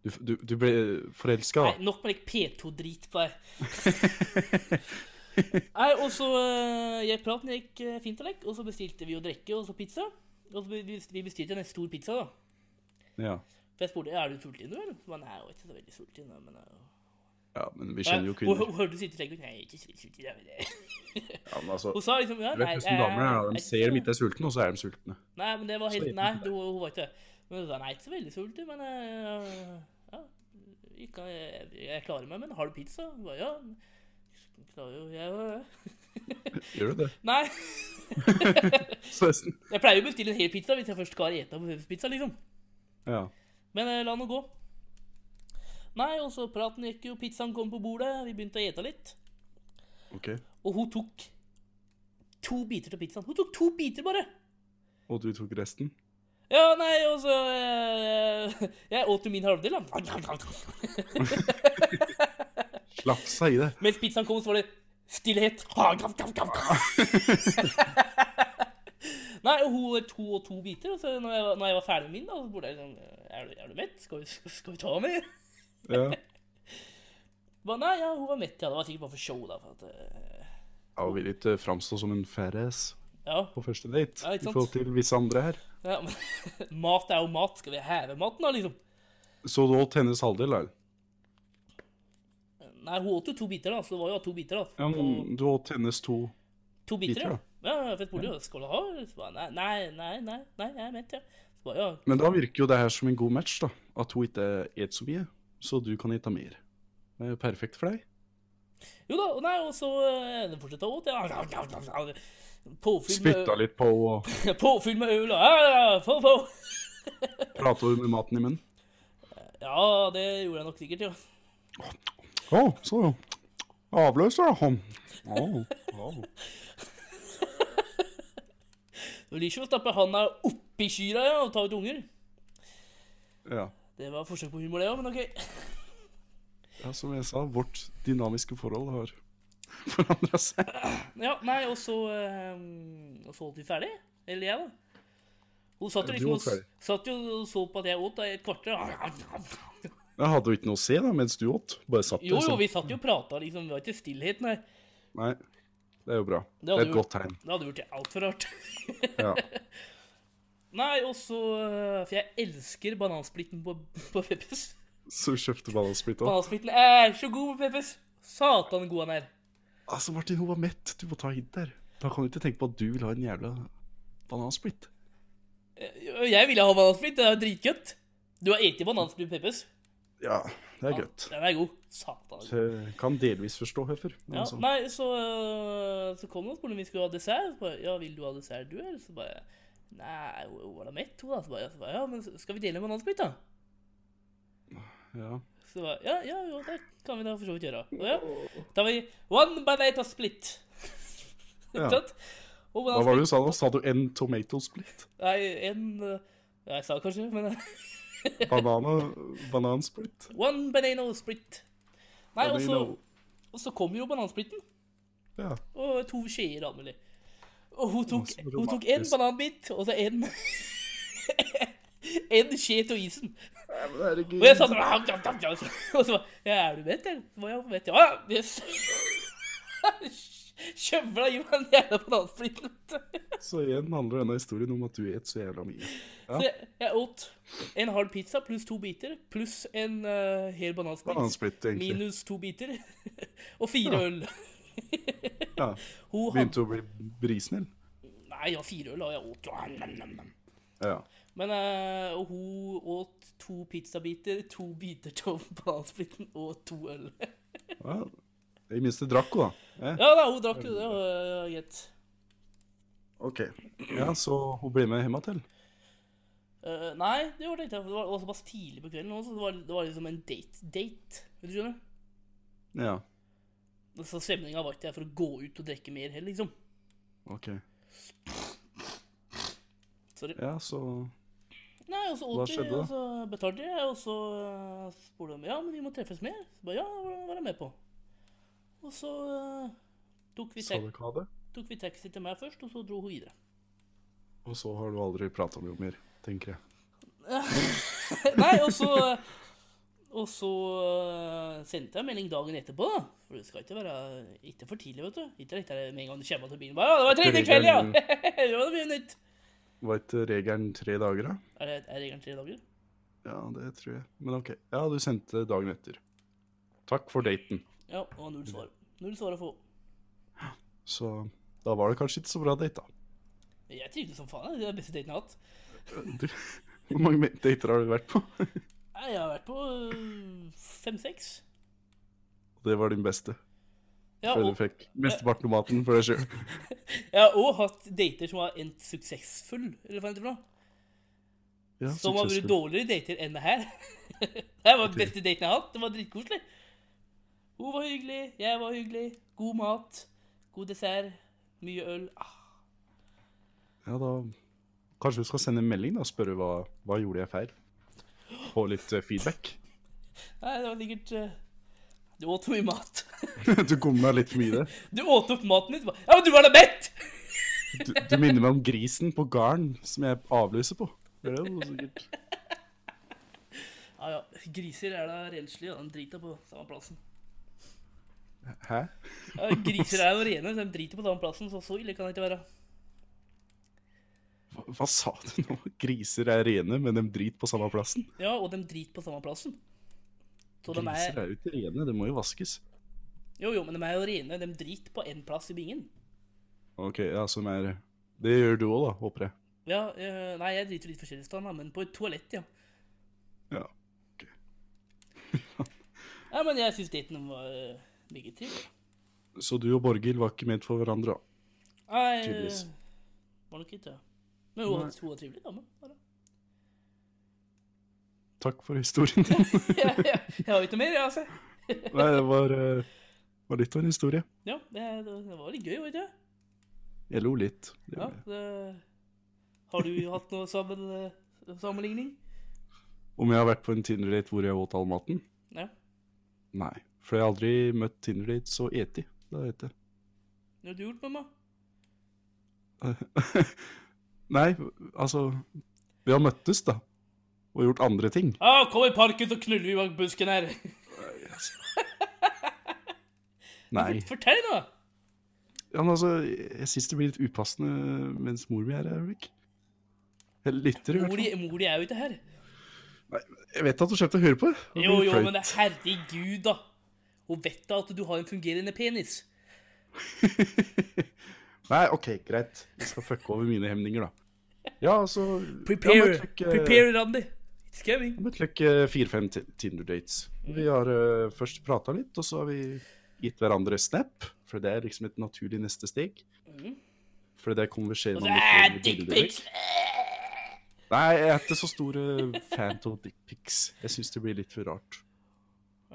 S1: Du, du, du ble forelska,
S2: Nei,
S1: da.
S2: nok med litt P2-drit på deg. Nei, og så eh, Jeg praten gikk eh, fint og lekk, og så bestilte vi jo drikke og så pizza. Og så be- vi bestilte en stor pizza, da.
S1: [LAUGHS] Ja.
S2: For jeg spurte er du sulten, du, eller? Så bare, nei, jeg var ikke så veldig sulten. da, Men, eh,
S1: ja, men vi kjenner jo
S2: Hun-
S1: kvinner.
S2: Hun hørtes ikke slik ut. Nei, jeg er ikke så sulten. jeg er det».
S1: Ja, men altså,
S2: Hun sa liksom ja,
S1: du vet
S2: nei,
S1: hvordan damer er. da.
S2: jeg
S1: De ser
S2: ikke
S1: de ikke er sultne, og så er de sultne.
S2: Nei, men det var
S1: Så
S2: helt
S1: gikk
S2: Nei,
S1: den
S2: det var, hun var ikke det. Men hun sa nei, ikke så veldig sultig, men eh, ja, jeg, kan, jeg, jeg klarer meg. Men har du pizza? Hun ba, ja. jeg Klarer jo jeg ja.
S1: Gjør du det? [LAUGHS]
S2: Nei. [LAUGHS]
S1: Så nesten.
S2: Jeg pleier å bestille en hel pizza hvis jeg først skal ete på pizza, liksom.
S1: Ja.
S2: Men eh, la nå gå. Nei, og så praten gikk jo, pizzaen kom på bordet, vi begynte å ete litt.
S1: OK.
S2: Og hun tok to biter til pizzaen. Hun tok to biter, bare!
S1: Og du tok resten?
S2: Ja, nei, og så eh, [LAUGHS] Jeg åt jo min halvdel, da.
S1: Slafsa i det.
S2: Mens pizzaen kom, så var det stillhet. [LAUGHS] Nei, og hun er to og to biter. Og så når jeg, var- når jeg var ferdig med min, da, så burde jeg sånn Er du, er du mett? Skal vi, skal vi ta mer?
S1: Ja.
S2: Ba, Nei, ja, hun var mett, ja. Det var sikkert bare for show, da. For at, eh,
S1: Ja, og vil ikke framstå som en færes
S2: ja.
S1: på første date
S2: Ja,
S1: i
S2: ikke sant?
S1: forhold til visse andre her.
S2: ja men, [LAUGHS] mat er jo mat. Skal vi heve maten, da, liksom?
S1: Så du åt hennes halvdel, da?
S2: Nei, hun åt jo to biter, da. Så det var jo to biter, da.
S1: Ja,
S2: Og
S1: men du åt hennes to
S2: to biter,
S1: biter,
S2: ja. Ja, fett bolig. ja. Skal du ha? Så ba, nei, nei, nei, nei, nei, jeg er mett, ja. Så ba, ja,
S1: Men da virker jo det her som en god match, da. At hun ikke et så mye, så du kan ete mer. Det er jo perfekt for deg.
S2: Jo da, og nei, og så eh, Den fortsatte å åte. ja. [LAUGHS] Påfyll
S1: Spytta
S2: med,
S1: litt på og
S2: [LAUGHS] påfyll med øl og ja, ja, få, få.
S1: prata over med maten i munnen.
S2: ja, det gjorde jeg nok sikkert, ja.
S1: Å, så jo. Avløser, [LAUGHS] da. Å, å.
S2: Du liker ikke å stappe handa oppi kyra ja, og ta ut unger.
S1: Ja.
S2: Det var forsøk på humor, det òg, men OK.
S1: ja. Som jeg sa, vårt dynamiske forhold har [LAUGHS] forandra seg.
S2: Ja, nei, og så eh, Og så holdt vi ferdig. Eller jeg, da. Hun satt
S1: Du
S2: jo liksom
S1: holdt ferdig.
S2: og, satt jo og så på at jeg åt da, i et kvarter.
S1: Jeg hadde jo ikke noe å se da, mens du åt. Bare satt
S2: Jo,
S1: der.
S2: jo,
S1: sånn.
S2: vi satt jo og prata, liksom. Det var ikke stillhet, nei.
S1: Nei. Det er jo bra.
S2: Det
S1: Det
S2: hadde
S1: er et
S2: jo-
S1: godt tegn.
S2: Det hadde gjort det altfor rart.
S1: Ja.
S2: [LAUGHS] Nei, og så øh, For jeg elsker banansplitten på, på Peppes.
S1: Så kjøpte banansplitt òg.
S2: Banansplitten er så god på Peppes! Satan god han er.
S1: Altså, Martin, hun var mett. Du må ta hint der. Da kan du ikke tenke på at du vil ha en jævla banansplitt.
S2: Eh, Jeg ville ha banansplitt, det er jo dritgodt. Du har spist banansplitt på Peppes.
S1: Ja, det er godt.
S2: Den er god. Satan. er god.
S1: Jeg eh, kan delvis forstå, Høfer. men
S2: Ja,
S1: altså,
S2: nei, så, øh, så kom hun og spurte om vi skulle ha dessert. Så bare, ja, vil du ha dessert, du, eller? Så bare Nei, hun hun var da mett, hun, da. Så bare, ja, så bare, ja men skal vi dele en banansplitt, da?
S1: ja.
S2: [LAUGHS] Så bare, ja, ja, jo, det kan vi da for så vidt gjøre. Og ja, da var vi one banana split. Ikke
S1: Ja.
S2: sant? Og
S1: Hva var det du sa nå? Sa du en tomato split?
S2: Nei, en eh, Jeg sa kanskje, men [LAUGHS] eh,
S1: Banana, banansplitt?
S2: One banana split. Nei, altså- og så,
S1: Banana-
S2: og så kom jo banansplitten.
S1: Ja.
S2: Og to skjeer, da, mulig. Og hun tok,
S1: så
S2: hun tok en
S1: romantisk.
S2: bananbit, og så en [LAUGHS] En skje til isen.
S1: Herregud.
S2: Og jeg satt ham, ham, ham, [LAUGHS] ham, og så bare Ja, er du mett, eller? Så var jeg mett, ja. Yes. [LAUGHS] Kjøvla i meg den jævla banansplitten. vet du.
S1: Så igjen handler denne historien om at du et så jævla mye.
S2: Så jeg, [LAUGHS] jeg åt en halv pizza pluss to biter, pluss en eh, hel banansplitt.
S1: Banansplitt, egentlig.
S2: Minus to biter. [LAUGHS] Og fire øl. [LAUGHS]
S1: Ja.
S2: Hun hadde
S1: Begynte å bli brisnill.
S2: Nei, ja, fire øl, og jeg åt jo nam, nam, nam.
S1: Ja.
S2: Men eh, og hun åt to pizzabiter, to biter av banansplitten og to øl. [LAUGHS]
S1: ja. I minste drakk hun, da. Eh?
S2: Ja da, hun drakk jo det, og eh, gitt.
S1: Ok. Ja, så hun blir med hjem til?
S2: Eh, nei, det gjorde jeg ikke. for Det var også såpass tidlig på kvelden, også, så det var, det var liksom en date-date. Vet du skjønner?
S1: Ja.
S2: Så stemninga var ikke der for å gå ut og drikke mer heller, liksom.
S1: Ok.
S2: Sorry.
S1: Ja, så
S2: Nei, og så
S1: Hva
S2: åt vi,
S1: skjedde da?
S2: og så betalte jeg, og så eh, spurte de ja, men vi må treffes mer. Så bare ja, hva var jeg med på? Og så eh, tok, vi
S1: sa
S2: tek
S1: du ikke ha det.
S2: tok vi taxi til meg først, og så dro hun videre.
S1: Og så har du aldri prata med henne mer, tenker jeg.
S2: [LAUGHS] Nei, og så Og så eh, sendte jeg melding dagen etterpå, da. For det skal ikke være ikke for tidlig, vet du. Ikke rett med en gang du kommer til bilen. Bare, ja, det var tredje kveld, ja! [LAUGHS] det var mye nytt.
S1: Var ikke regelen tre dager, da?
S2: Er det, er det egentlig tre dager?
S1: Ja, det tror jeg. Men ok. Ja, du sendte dagen etter. Takk for daten.
S2: Ja, og null svar. Null svar å få.
S1: Så da var det kanskje ikke så bra date, da.
S2: Jeg trivdes som faen. jeg. Det er den beste daten jeg har hatt.
S1: Du, hvor mange dater har du vært på? [LAUGHS]
S2: Nei, Jeg har vært på øh, fem-seks.
S1: Det var din beste,
S2: Ja,
S1: før du
S2: og
S1: fikk mesteparten av maten for deg sjøl.
S2: jeg har òg hatt dater som har endt suksessfull, eller hva heter det for noe.
S1: Ja,
S2: Som har vært
S1: suksessfull.
S2: dårligere dater enn det her. [LAUGHS] det var den beste daten jeg har hatt. Det var dritkoselig. Hun var hyggelig, jeg var hyggelig. God mat, god dessert, mye øl. Ah,
S1: Ja, da Kanskje du skal sende en melding da, og spørre hva, hva gjorde jeg feil? Få litt eh, feedback.
S2: Nei, det var sikkert eh, Du åt for mye mat.
S1: [LAUGHS]
S2: [LAUGHS]
S1: Du kom med litt for mye i det.
S2: Du åt opp maten din. så bare, Ja, men du var da mett!
S1: Du, du minner meg om grisen på garden som jeg avlyser på. Det er jo sikkert.
S2: Ja, ja. Griser er da renslige, og de driter på samme plassen.
S1: Hæ?
S2: Ja, griser er jo rene, så de driter på samme plassen, så så ille kan det ikke være.
S1: Hva, hva sa du nå? Griser er rene, men de driter på samme plassen?
S2: Ja, og de driter på samme plassen. Så de
S1: Griser
S2: er,
S1: er jo ikke rene, de må jo vaskes.
S2: jo, jo, men de er jo rene. De driter på én plass i bingen.
S1: Ok, ja, som er Det gjør du òg, da, håper jeg.
S2: Ja, eh, nei, jeg driter litt forskjellig sted, da, men på et toalett, ja.
S1: Ja.
S2: Ja, men jeg syns daten var eh, meget trivelig.
S1: Så du og Borghild var ikke ment for hverandre, da?
S2: Nei,
S1: Tydeligvis.
S2: eh, var nok ikke det. Men hun var- hun [LAUGHS] var trivelig dame. var det.
S1: Takk for historien din.
S2: [LAUGHS] Jeg, jeg, jeg har ikke noe mer, jeg, altså.
S1: Nei, det var, eh, var litt av en historie.
S2: Ja, det, det var litt gøy, var det ikke det?
S1: Jeg lo litt. Det
S2: Ja,
S1: gjorde jeg.
S2: det? Har du hatt noe sammen, eh, sammenligning?
S1: Om jeg har vært på en Tinder-date hvor jeg åt all maten?
S2: Ja.
S1: Nei. For jeg har aldri møtt Tinder-dates og eti. Det vet jeg.
S2: Noe du har gjort, mamma?
S1: [LAUGHS] Nei, altså Vi har møttes, da. Og gjort andre ting.
S2: Ja, kom i parken, så knuller vi bak busken her.
S1: Nei.
S2: [LAUGHS] Fortell nå!
S1: Ja, men altså, jeg syns det blir litt upassende mens mor mi er her, Ulrik. Eller lytter, i hvert
S2: Mor
S1: fall.
S2: di, mor di er jo ikke her.
S1: Jeg vet at hun kommer til å høre på. det. Det
S2: Jo,
S1: blir
S2: jo,
S1: flaut.
S2: men det, herregud, da. Hun vet da at du har en fungerende penis.
S1: Nei, OK, greit. Vi skal fucke over mine hemninger, da. Ja, altså Jeg har
S2: Prepare,
S1: møtt like-
S2: prepare, Randi. It's coming.
S1: jeg har møtt like eh, fire-fem Ti- Tinder-dates.
S2: Mm.
S1: Vi har eh, først prata litt, og så har vi gitt hverandre snap, for det er liksom et naturlig neste steg.
S2: Mm.
S1: For det konverserer man
S2: Ah,
S1: litt med bilder.
S2: Dickpics!
S1: Nei, jeg er ikke så stor eh, fan av dickpics. Jeg syns det blir litt for rart.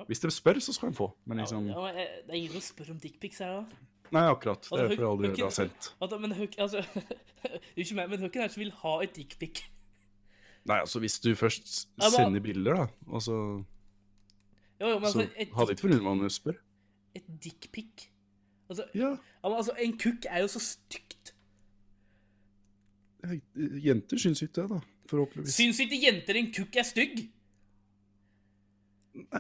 S1: Hvis de spør, så skal de få, men
S2: Ja,
S1: liksom
S2: men, eh, det er ingen som spør om dickpics her, da.
S1: Nei, akkurat. Det er
S2: Altså,
S1: derfor jeg
S2: hø-
S1: aldri
S2: hø-
S1: har sendt.
S2: At, men høk, altså, [LAUGHS] Unnskyld meg, men høkken er som vil ha et dickpic.
S1: Nei, altså, hvis du først s-
S2: Ja, men-
S1: sender bilder, da, og så
S2: [LAUGHS] Jo, jo, men
S1: Så
S2: altså, et,
S1: hadde ikke forundret meg om du spør.
S2: dick- et dickpic altså, ja,
S1: Ja,
S2: men altså, en kukk er jo så stygt.
S1: eh, jenter syns ikke det, da. Forhåpentligvis.
S2: Syns ikke jenter en kukk er stygg?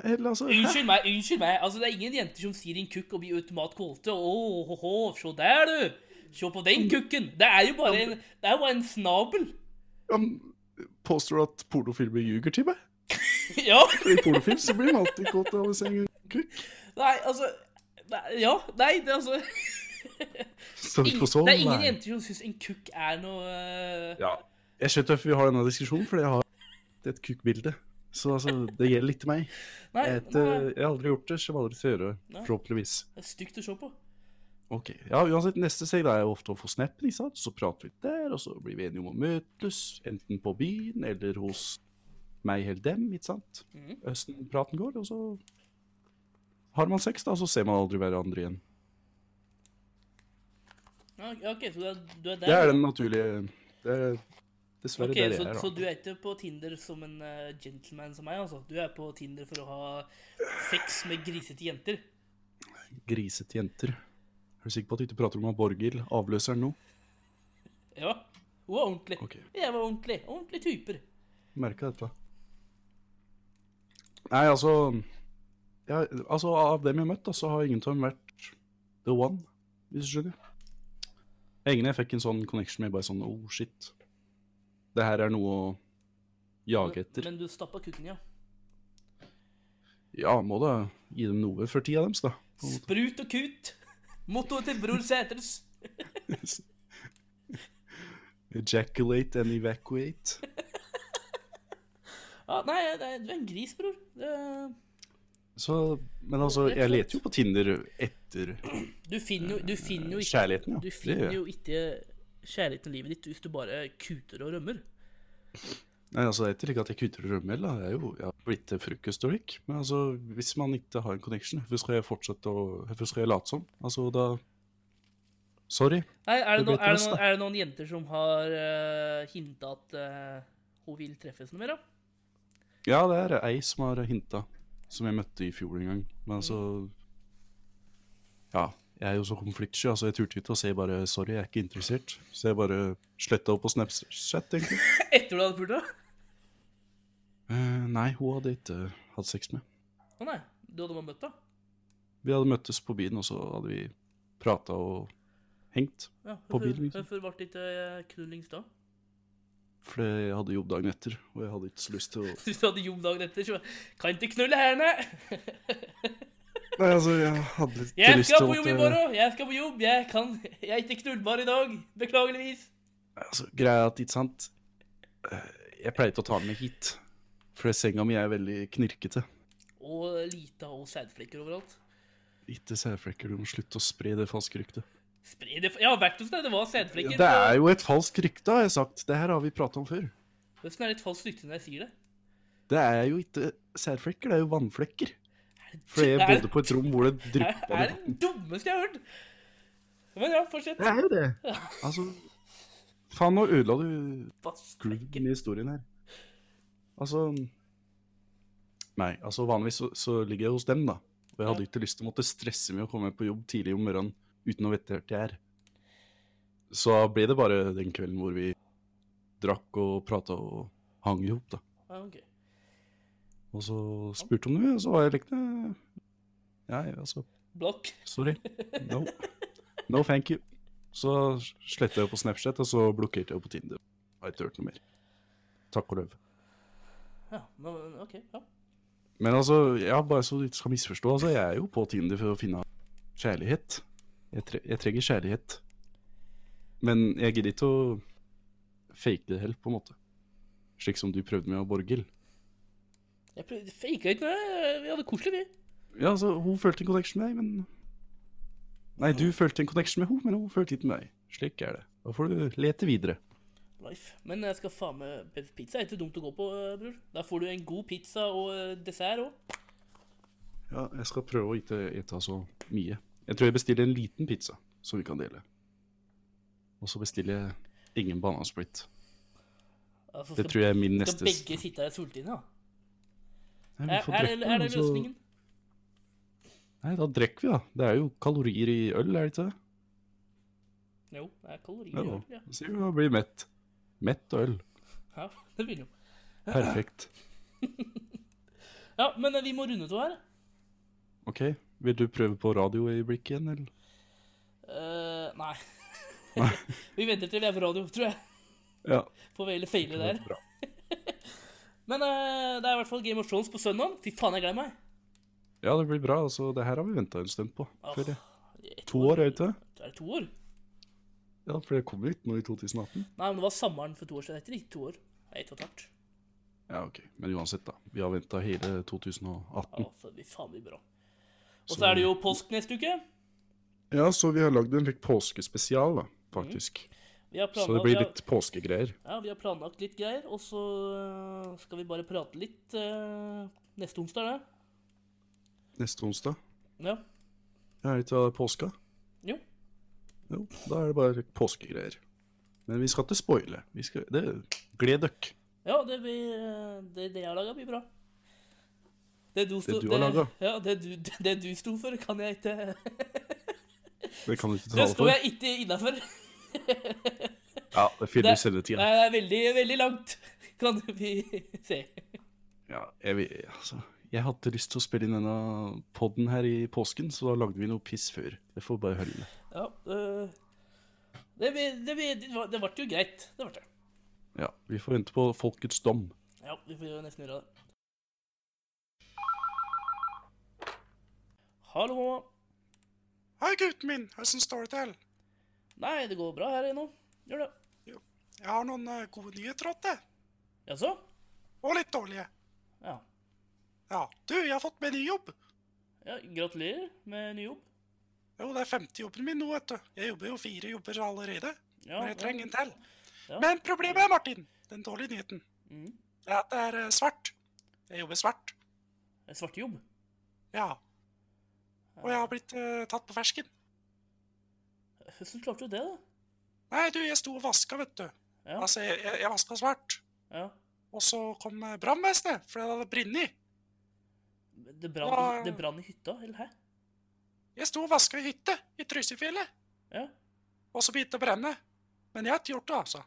S1: Eller altså hæ?
S2: Unnskyld meg, unnskyld meg. Altså, Det er ingen jenter som sier en kukk og blir automat kåte. Åh, hå, hå, se der, du! Se på den kukken! Det er jo bare en, det er jo bare en snabel. [LAUGHS]
S1: Han påstår at pornofilmer ljuger til meg.
S2: ja,
S1: I pornofilm så blir man alltid kåt av å se en kukk.
S2: nei, altså nei, Ja, nei, det er
S1: [LAUGHS]
S2: altså
S1: Står vi
S2: ing-
S1: på sånn?
S2: Det er ingen
S1: Nei.
S2: jenter som syns en kukk er noe eh,
S1: Ja. Jeg skjønner hvorfor vi har denne diskusjonen, fordi jeg har et kukkbilde. Så altså, det gjelder litt til meg.
S2: Nei,
S1: Jeg, vet, eh,
S2: nei,
S1: jeg har aldri gjort det, så jeg må aldri til å gjøre det.
S2: Nei.
S1: Forhåpentligvis.
S2: det er stygt å se på.
S1: Ok, ja, uansett, neste steg da er jo ofte å få snappen, ikke sant? Så prater vi litt der, og så blir vi enige om å møtes, enten på byen eller hos meg eller dem, ikke sant?
S2: Mhm.
S1: Østen praten går, og så har man sex da, så ser man aldri hverandre igjen.
S2: Ja, OK, så du er, du er der?
S1: Det er den naturlige, det er dessverre
S2: Ok,
S1: der
S2: så,
S1: jeg er da.
S2: så du er ikke på Tinder som en eh, gentleman som meg, altså? Du er på Tinder for å ha sex med grisete jenter?
S1: Grisete jenter. Er du sikker på at du ikke prater om at Borgil avløser nå?
S2: Ja. Hun var ordentlig.
S1: Ok.
S2: Jeg var ordentlig. Ordentlige typer.
S1: Merka dette. Nei, altså, ja, altså Av dem jeg har møtt, da, så har ingen av dem vært the one, hvis du skjønner. Det er Ingen jeg fikk en sånn connection med, bare sånn oh shit. Det her er noe å jage etter.
S2: Men du stappa kukken, ja.
S1: Ja, må da gi dem noe for tida deres, da.
S2: Sprut og kut. Mottoet til Bror Sæters.
S1: Ejaculate and evacuate.
S2: Ja, nei, det er, du er en gris, bror. Det,
S1: Så, men altså, jeg leter jo på Tinder etter
S2: du finner jo, du finner jo ikke
S1: kjærligheten, ja.
S2: Du
S1: Det gjør
S2: finner
S1: jeg.
S2: jo ikke kjærligheten i livet ditt hvis du bare kuter og rømmer.
S1: Nei, altså, Det er ikke at jeg kutter og rømmer, da. Det er jo, jeg har blitt til frokostdrikk. Men altså, hvis man ikke har en connection, hvorfor skal jeg fortsette å Hvorfor skal jeg late som? Altså, da Sorry.
S2: Nei, er det,
S1: Det blir
S2: noen, er, det
S1: trist,
S2: noen,
S1: da.
S2: er det noen jenter som har uh, hinta at eh, hun vil treffes noe mer, da?
S1: Ja, det er ei som har hinta, som jeg møtte i fjor en gang. Men altså Ja, jeg er jo så konfliktsky, altså. Jeg turte ikke å si bare sorry, jeg er ikke interessert. Så jeg bare sletta opp på Snapchat, egentlig.
S2: Etter du hadde pult henne?
S1: Eh, nei, hun hadde ikke hatt sex med.
S2: Å nei. Du hadde bare møtt henne?
S1: Vi hadde møttes på byen, og så hadde vi prata og hengt.
S2: Ja,
S1: På
S2: hvorfor-
S1: bilen, liksom.
S2: Hvorfor ble det ikke eh, knullings da?
S1: For det- jeg hadde jobb dagen etter, og jeg hadde ikke så lyst til å
S2: [LAUGHS] Hvis du hadde jobb dagen etter, så Kan ikke knulle her, nei!
S1: Nei, altså, jeg hadde ikke
S2: Jeg
S1: lyst til
S2: skal på
S1: at
S2: jobb i
S1: jeg-
S2: morgen! Jeg skal på jobb! Jeg kan [LAUGHS] Jeg er ikke knullbar i dag! Beklageligvis.
S1: Altså, greia er at, ikke sant eh, Jeg pleier ikke å ta den med hit, for senga mi er veldig knirkete.
S2: Og lite og sædflekker overalt.
S1: Ikke sædflekker, du må slutte å spre det falske ryktet.
S2: Spre det Jeg har vært hos deg, det var
S1: Ja,
S2: sædflekker.
S1: det er jo et falskt rykte, har jeg sagt. Det her har vi prata om før.
S2: Hvordan er det et falskt rykte når jeg sier det?
S1: Det er jo ikke sædflekker, det er jo vannflekker. For
S2: det-
S1: jeg
S2: er det-
S1: bodde på et rom hvor det
S2: Det
S1: dryppa
S2: er det dummeste jeg har hørt. Men ja, fortsett.
S1: Det er jo det. Altså Faen, nå ødela du
S2: Vassflekker.
S1: grooven i historien her. Altså Nei, altså vanligvis så, så ligger jeg hos dem, da. Og jeg hadde
S2: Ja.
S1: ikke lyst til å måtte stresse med å komme på jobb tidlig om morgenen uten å vite hvor jeg er. Så da ble det bare den kvelden hvor vi drakk og prata og hang i hop, da.
S2: Ja, ok.
S1: Og så spurte hun om det, og så var jeg lekende Nei, altså,
S2: Blokk.
S1: sorry. No. No, thank you. Så sletta jeg på Snapchat, og så blokkerte jeg på Tinder. Har ikke hørt noe mer. Takk og løv.
S2: Ja, nå, ok, ja.
S1: Men altså, ja, bare så du ikke skal misforstå, altså, jeg er jo på Tinder for å finne kjærlighet. Jeg, tre jeg trenger kjærlighet. Men jeg gidder ikke å fake det helt, på en måte. Slik som du prøvde med Borghild.
S2: Jeg prøvde faka ikke noe. Vi hadde koselig, vi.
S1: Ja, altså, hun følte en connection med deg, men Nei, du følte en connection med henne, men hun følte ikke med deg. Slik er det. Da får du lete videre.
S2: Life. Men jeg skal faen meg Pizza er ikke dumt å gå på, eh, bror. Da får du en god pizza og eh, dessert òg.
S1: Ja, jeg skal prøve å ikke ete så mye. Jeg tror jeg bestiller en liten pizza, som vi kan dele. Og så bestiller jeg ingen banansplitt.
S2: Altså,
S1: Det tror jeg er min
S2: skal
S1: neste
S2: begge sitte her sultne, ja?
S1: Nei, vi
S2: Er,
S1: får
S2: er,
S1: drekke
S2: det, er det
S1: den, så-
S2: løsningen?
S1: Nei, da drikker vi, da. Det er jo kalorier i øl, er det ikke det?
S2: Jo, det er kalorier.
S1: Det er
S2: i
S1: jo.
S2: øl, Ja.
S1: Så vi da blir mett. Mett og øl.
S2: [LAUGHS] ja, det vil jo.
S1: Perfekt.
S2: Ja, men eh, vi må runde av her.
S1: OK, vil du prøve på radioøyeblikket igjen, eller?
S2: Eh, nei. [LAUGHS]
S1: Nei.
S2: vi venter til vi er på radio, tror jeg.
S1: Ja.
S2: Får vel feile der.
S1: Bra.
S2: Men eh, det er i hvert fall Game of Thrones på søndag. Fy faen, jeg gleder meg.
S1: Ja, det blir bra. altså. Det her har vi venta en stund på.
S2: Åh,
S1: Før,
S2: jeg
S1: to
S2: tror-
S1: år, er det ikke det?
S2: Er det to år?
S1: Ja, for det kom jo ikke noe i 2018.
S2: Nei, men det var sommeren for to år siden. Det er ikke to år. Det er Ett og et halvt.
S1: Mm. Ja, ok. Men uansett, da. Vi har venta hele 2018.
S2: Ja, så det blir faen meg bra. Og så er det jo påsk neste uke.
S1: Ja, så vi har lagd en litt påskespesial, da, faktisk.
S2: Vi har
S1: Så det
S2: planlagt, vi
S1: blir
S2: har,
S1: litt påskegreier.
S2: ja, vi har planlagt litt greier, og så øh, skal vi bare prate litt øh, neste onsdag, det.
S1: Neste onsdag.
S2: Ja.
S1: Er det ikke påska?
S2: Jo.
S1: Jo, da er det bare påskegreier. Men vi skal ikke spoile. Vi skal det, Gled dere.
S2: Ja, det blir øh, Det, det jeg har laga, blir bra. Det du, sto,
S1: du har laget?
S2: Ja, det du, det, du sto for, kan jeg ikke
S1: Det kan du ikke
S2: Det
S1: tale
S2: står
S1: for.
S2: jeg ikke innafor.
S1: Ja, det finner
S2: Det-
S1: vi sendetida.
S2: Det er veldig, veldig langt, [LAUGHS] kan vi se.
S1: Ja, jeg, vil- altså, jeg hadde lyst til å spille inn denne podden her i påsken, så da lagde vi noe piss før. Det får bare holde med.
S2: Ja, øh, det, blir, det, blir, det var- det ble jo greit. Det ble det.
S1: Ja, vi får vente på folkets dom.
S2: Ja, vi får jo nesten gjøre det. Hallo, mamma.
S9: Hei, gutten min. Åssen står det til?
S2: Nei, det går bra her inne. Gjør det.
S9: Jeg har noen eh, gode nyheter til deg.
S2: Jaså?
S9: Og litt dårlige.
S2: Ja.
S9: Ja, du, jeg har fått meg ny jobb.
S2: ja. Gratulerer med ny jobb.
S9: Jo, det er femte jobben min nå, vet du. Jeg jobber jo fire jobber allerede.
S2: Ja,
S9: Men jeg trenger
S2: ja.
S9: en til.
S2: Ja.
S9: Men problemet er, Martin, den dårlige nyheten,
S2: Mm.
S9: det er at det er eh, svart. Jeg jobber svart.
S2: En svartejobb.
S9: Ja. Og jeg har blitt eh, tatt på fersken.
S2: Hvordan klarte du det, da?
S9: Nei, du, jeg sto og vaska, vet du.
S2: Ja.
S9: Altså, jeg, jeg, jeg vaska svart.
S2: Ja.
S9: Og så kom eh, brannvesenet, for det hadde brent.
S2: Det brann,
S9: Ja, ja.
S2: det brann i hytta, eller hæ?
S9: Jeg sto og vaska i hytte i Trysilfjellet.
S2: Ja.
S9: Og så begynte det å brenne. Men jeg har ikke gjort det, altså.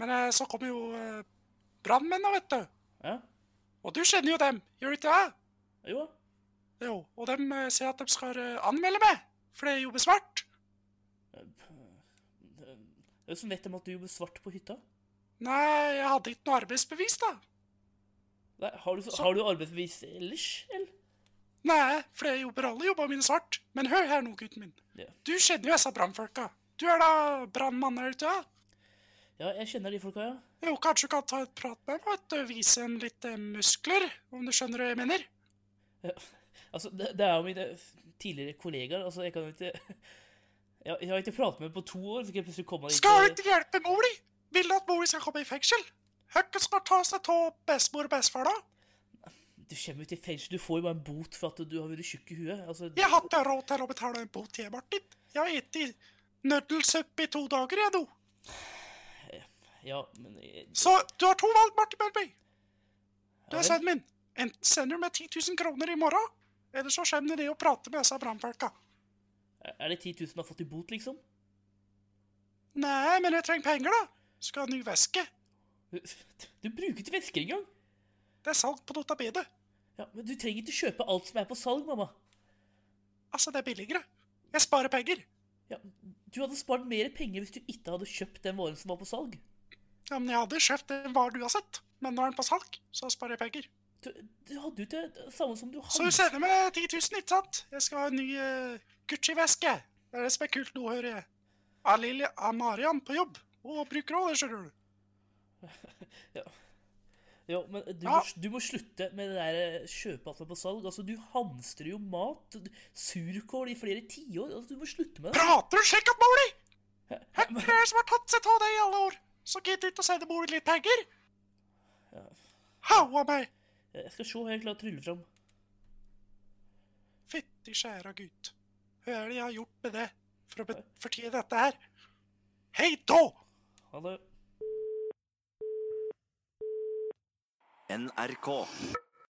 S9: Men eh, så kom jo eh, brannmennene, vet du.
S2: Ja.
S9: Og du kjenner jo dem, gjør du ikke det?
S2: Jo.
S9: Jo, og dem eh, sier at de skal eh, anmelde meg, for jeg jobber svart.
S2: Hvordan vet de at du jobber svart på hytta?
S9: Nei, jeg hadde ikke noe arbeidsbevis, da.
S2: Nei, har, du, har du arbeidsbevis ellers, eller?
S9: Nei, for jeg jobber alle jobbene mine svart. Men hør her nå, gutten min.
S2: Ja.
S9: Du kjenner jo disse brannfolka. Du er da brannmann, er du ikke det?
S2: Ja, jeg kjenner de folka, ja.
S9: Jo, kanskje du kan ta et prat med meg, vet du. Vise en litt eh, muskler, om du skjønner hva jeg mener.
S2: Altså, det, det er jo mine tidligere kollegaer. Altså, jeg kan jo ikke [LAUGHS] jeg, jeg har ikke pratet med dem på to år, så skal jeg plutselig komme dit
S9: Skal du
S2: og-
S9: ikke hjelpe mor di? Vil du at mor di skal komme i fengsel? Hvem skal ta seg av bestemor og bestefar da?
S2: Du kommer jo til fengsel, du får jo bare en bot for at du har vært tjukk i huet. Altså,
S9: Jeg har ikke råd til å betale en bot til Martin. Jeg har spist nøddelsuppe i to dager, jeg nå.
S2: ja, men jeg,
S9: Så du har to valg, Martin Melby. Du
S2: Ja vel.
S9: er sønnen min. Enten sender du meg 10 000 kroner i morgen, eller så kommer du ned og prater med disse brannfolka.
S2: Er det 10 000 du har fått i bot, liksom? [LAUGHS]
S9: Nei, men jeg trenger penger, da. Skal ha ny veske.
S2: Du bruker ikke vesker engang!
S9: Det er salg på Notabedet.
S2: Ja, men du trenger ikke kjøpe alt som er på salg, mamma.
S9: Altså, det er billigere. Jeg sparer penger.
S2: Ja, du hadde spart mer penger hvis du ikke hadde kjøpt den varen som var på salg.
S9: Ja, men jeg hadde kjøpt den hva du har sett, men nå er den på salg, så sparer jeg penger.
S2: Du, du hadde jo ikke det samme som du hadde.
S9: Så du sender meg 10 000, ikke sant? Jeg skal ha en ny eh, Gucci-veske. Det er det som er kult nå, hører jeg. Er Lilly er Marian på jobb? Hun bruker òg det, skjønner du.
S2: Ja, men du,
S9: Ja.
S2: må, du må slutte med det der eh, kjøpe alt som er på salg. Altså, du hamstrer jo mat, du- surkål i flere tiår. Altså, du må slutte med det.
S9: Prater du slik at mor di? Hvem er det som har tatt seg av deg i alle år? Så gidder ikke å sende mor di litt penger? Haua meg!
S2: Jeg skal se hva jeg klarer å trylle fram.
S9: Fytti skjæra gutt. Hva er det jeg har gjort med det for å be- fortjene dette her? Hei då!
S2: Ha det.
S3: NRK.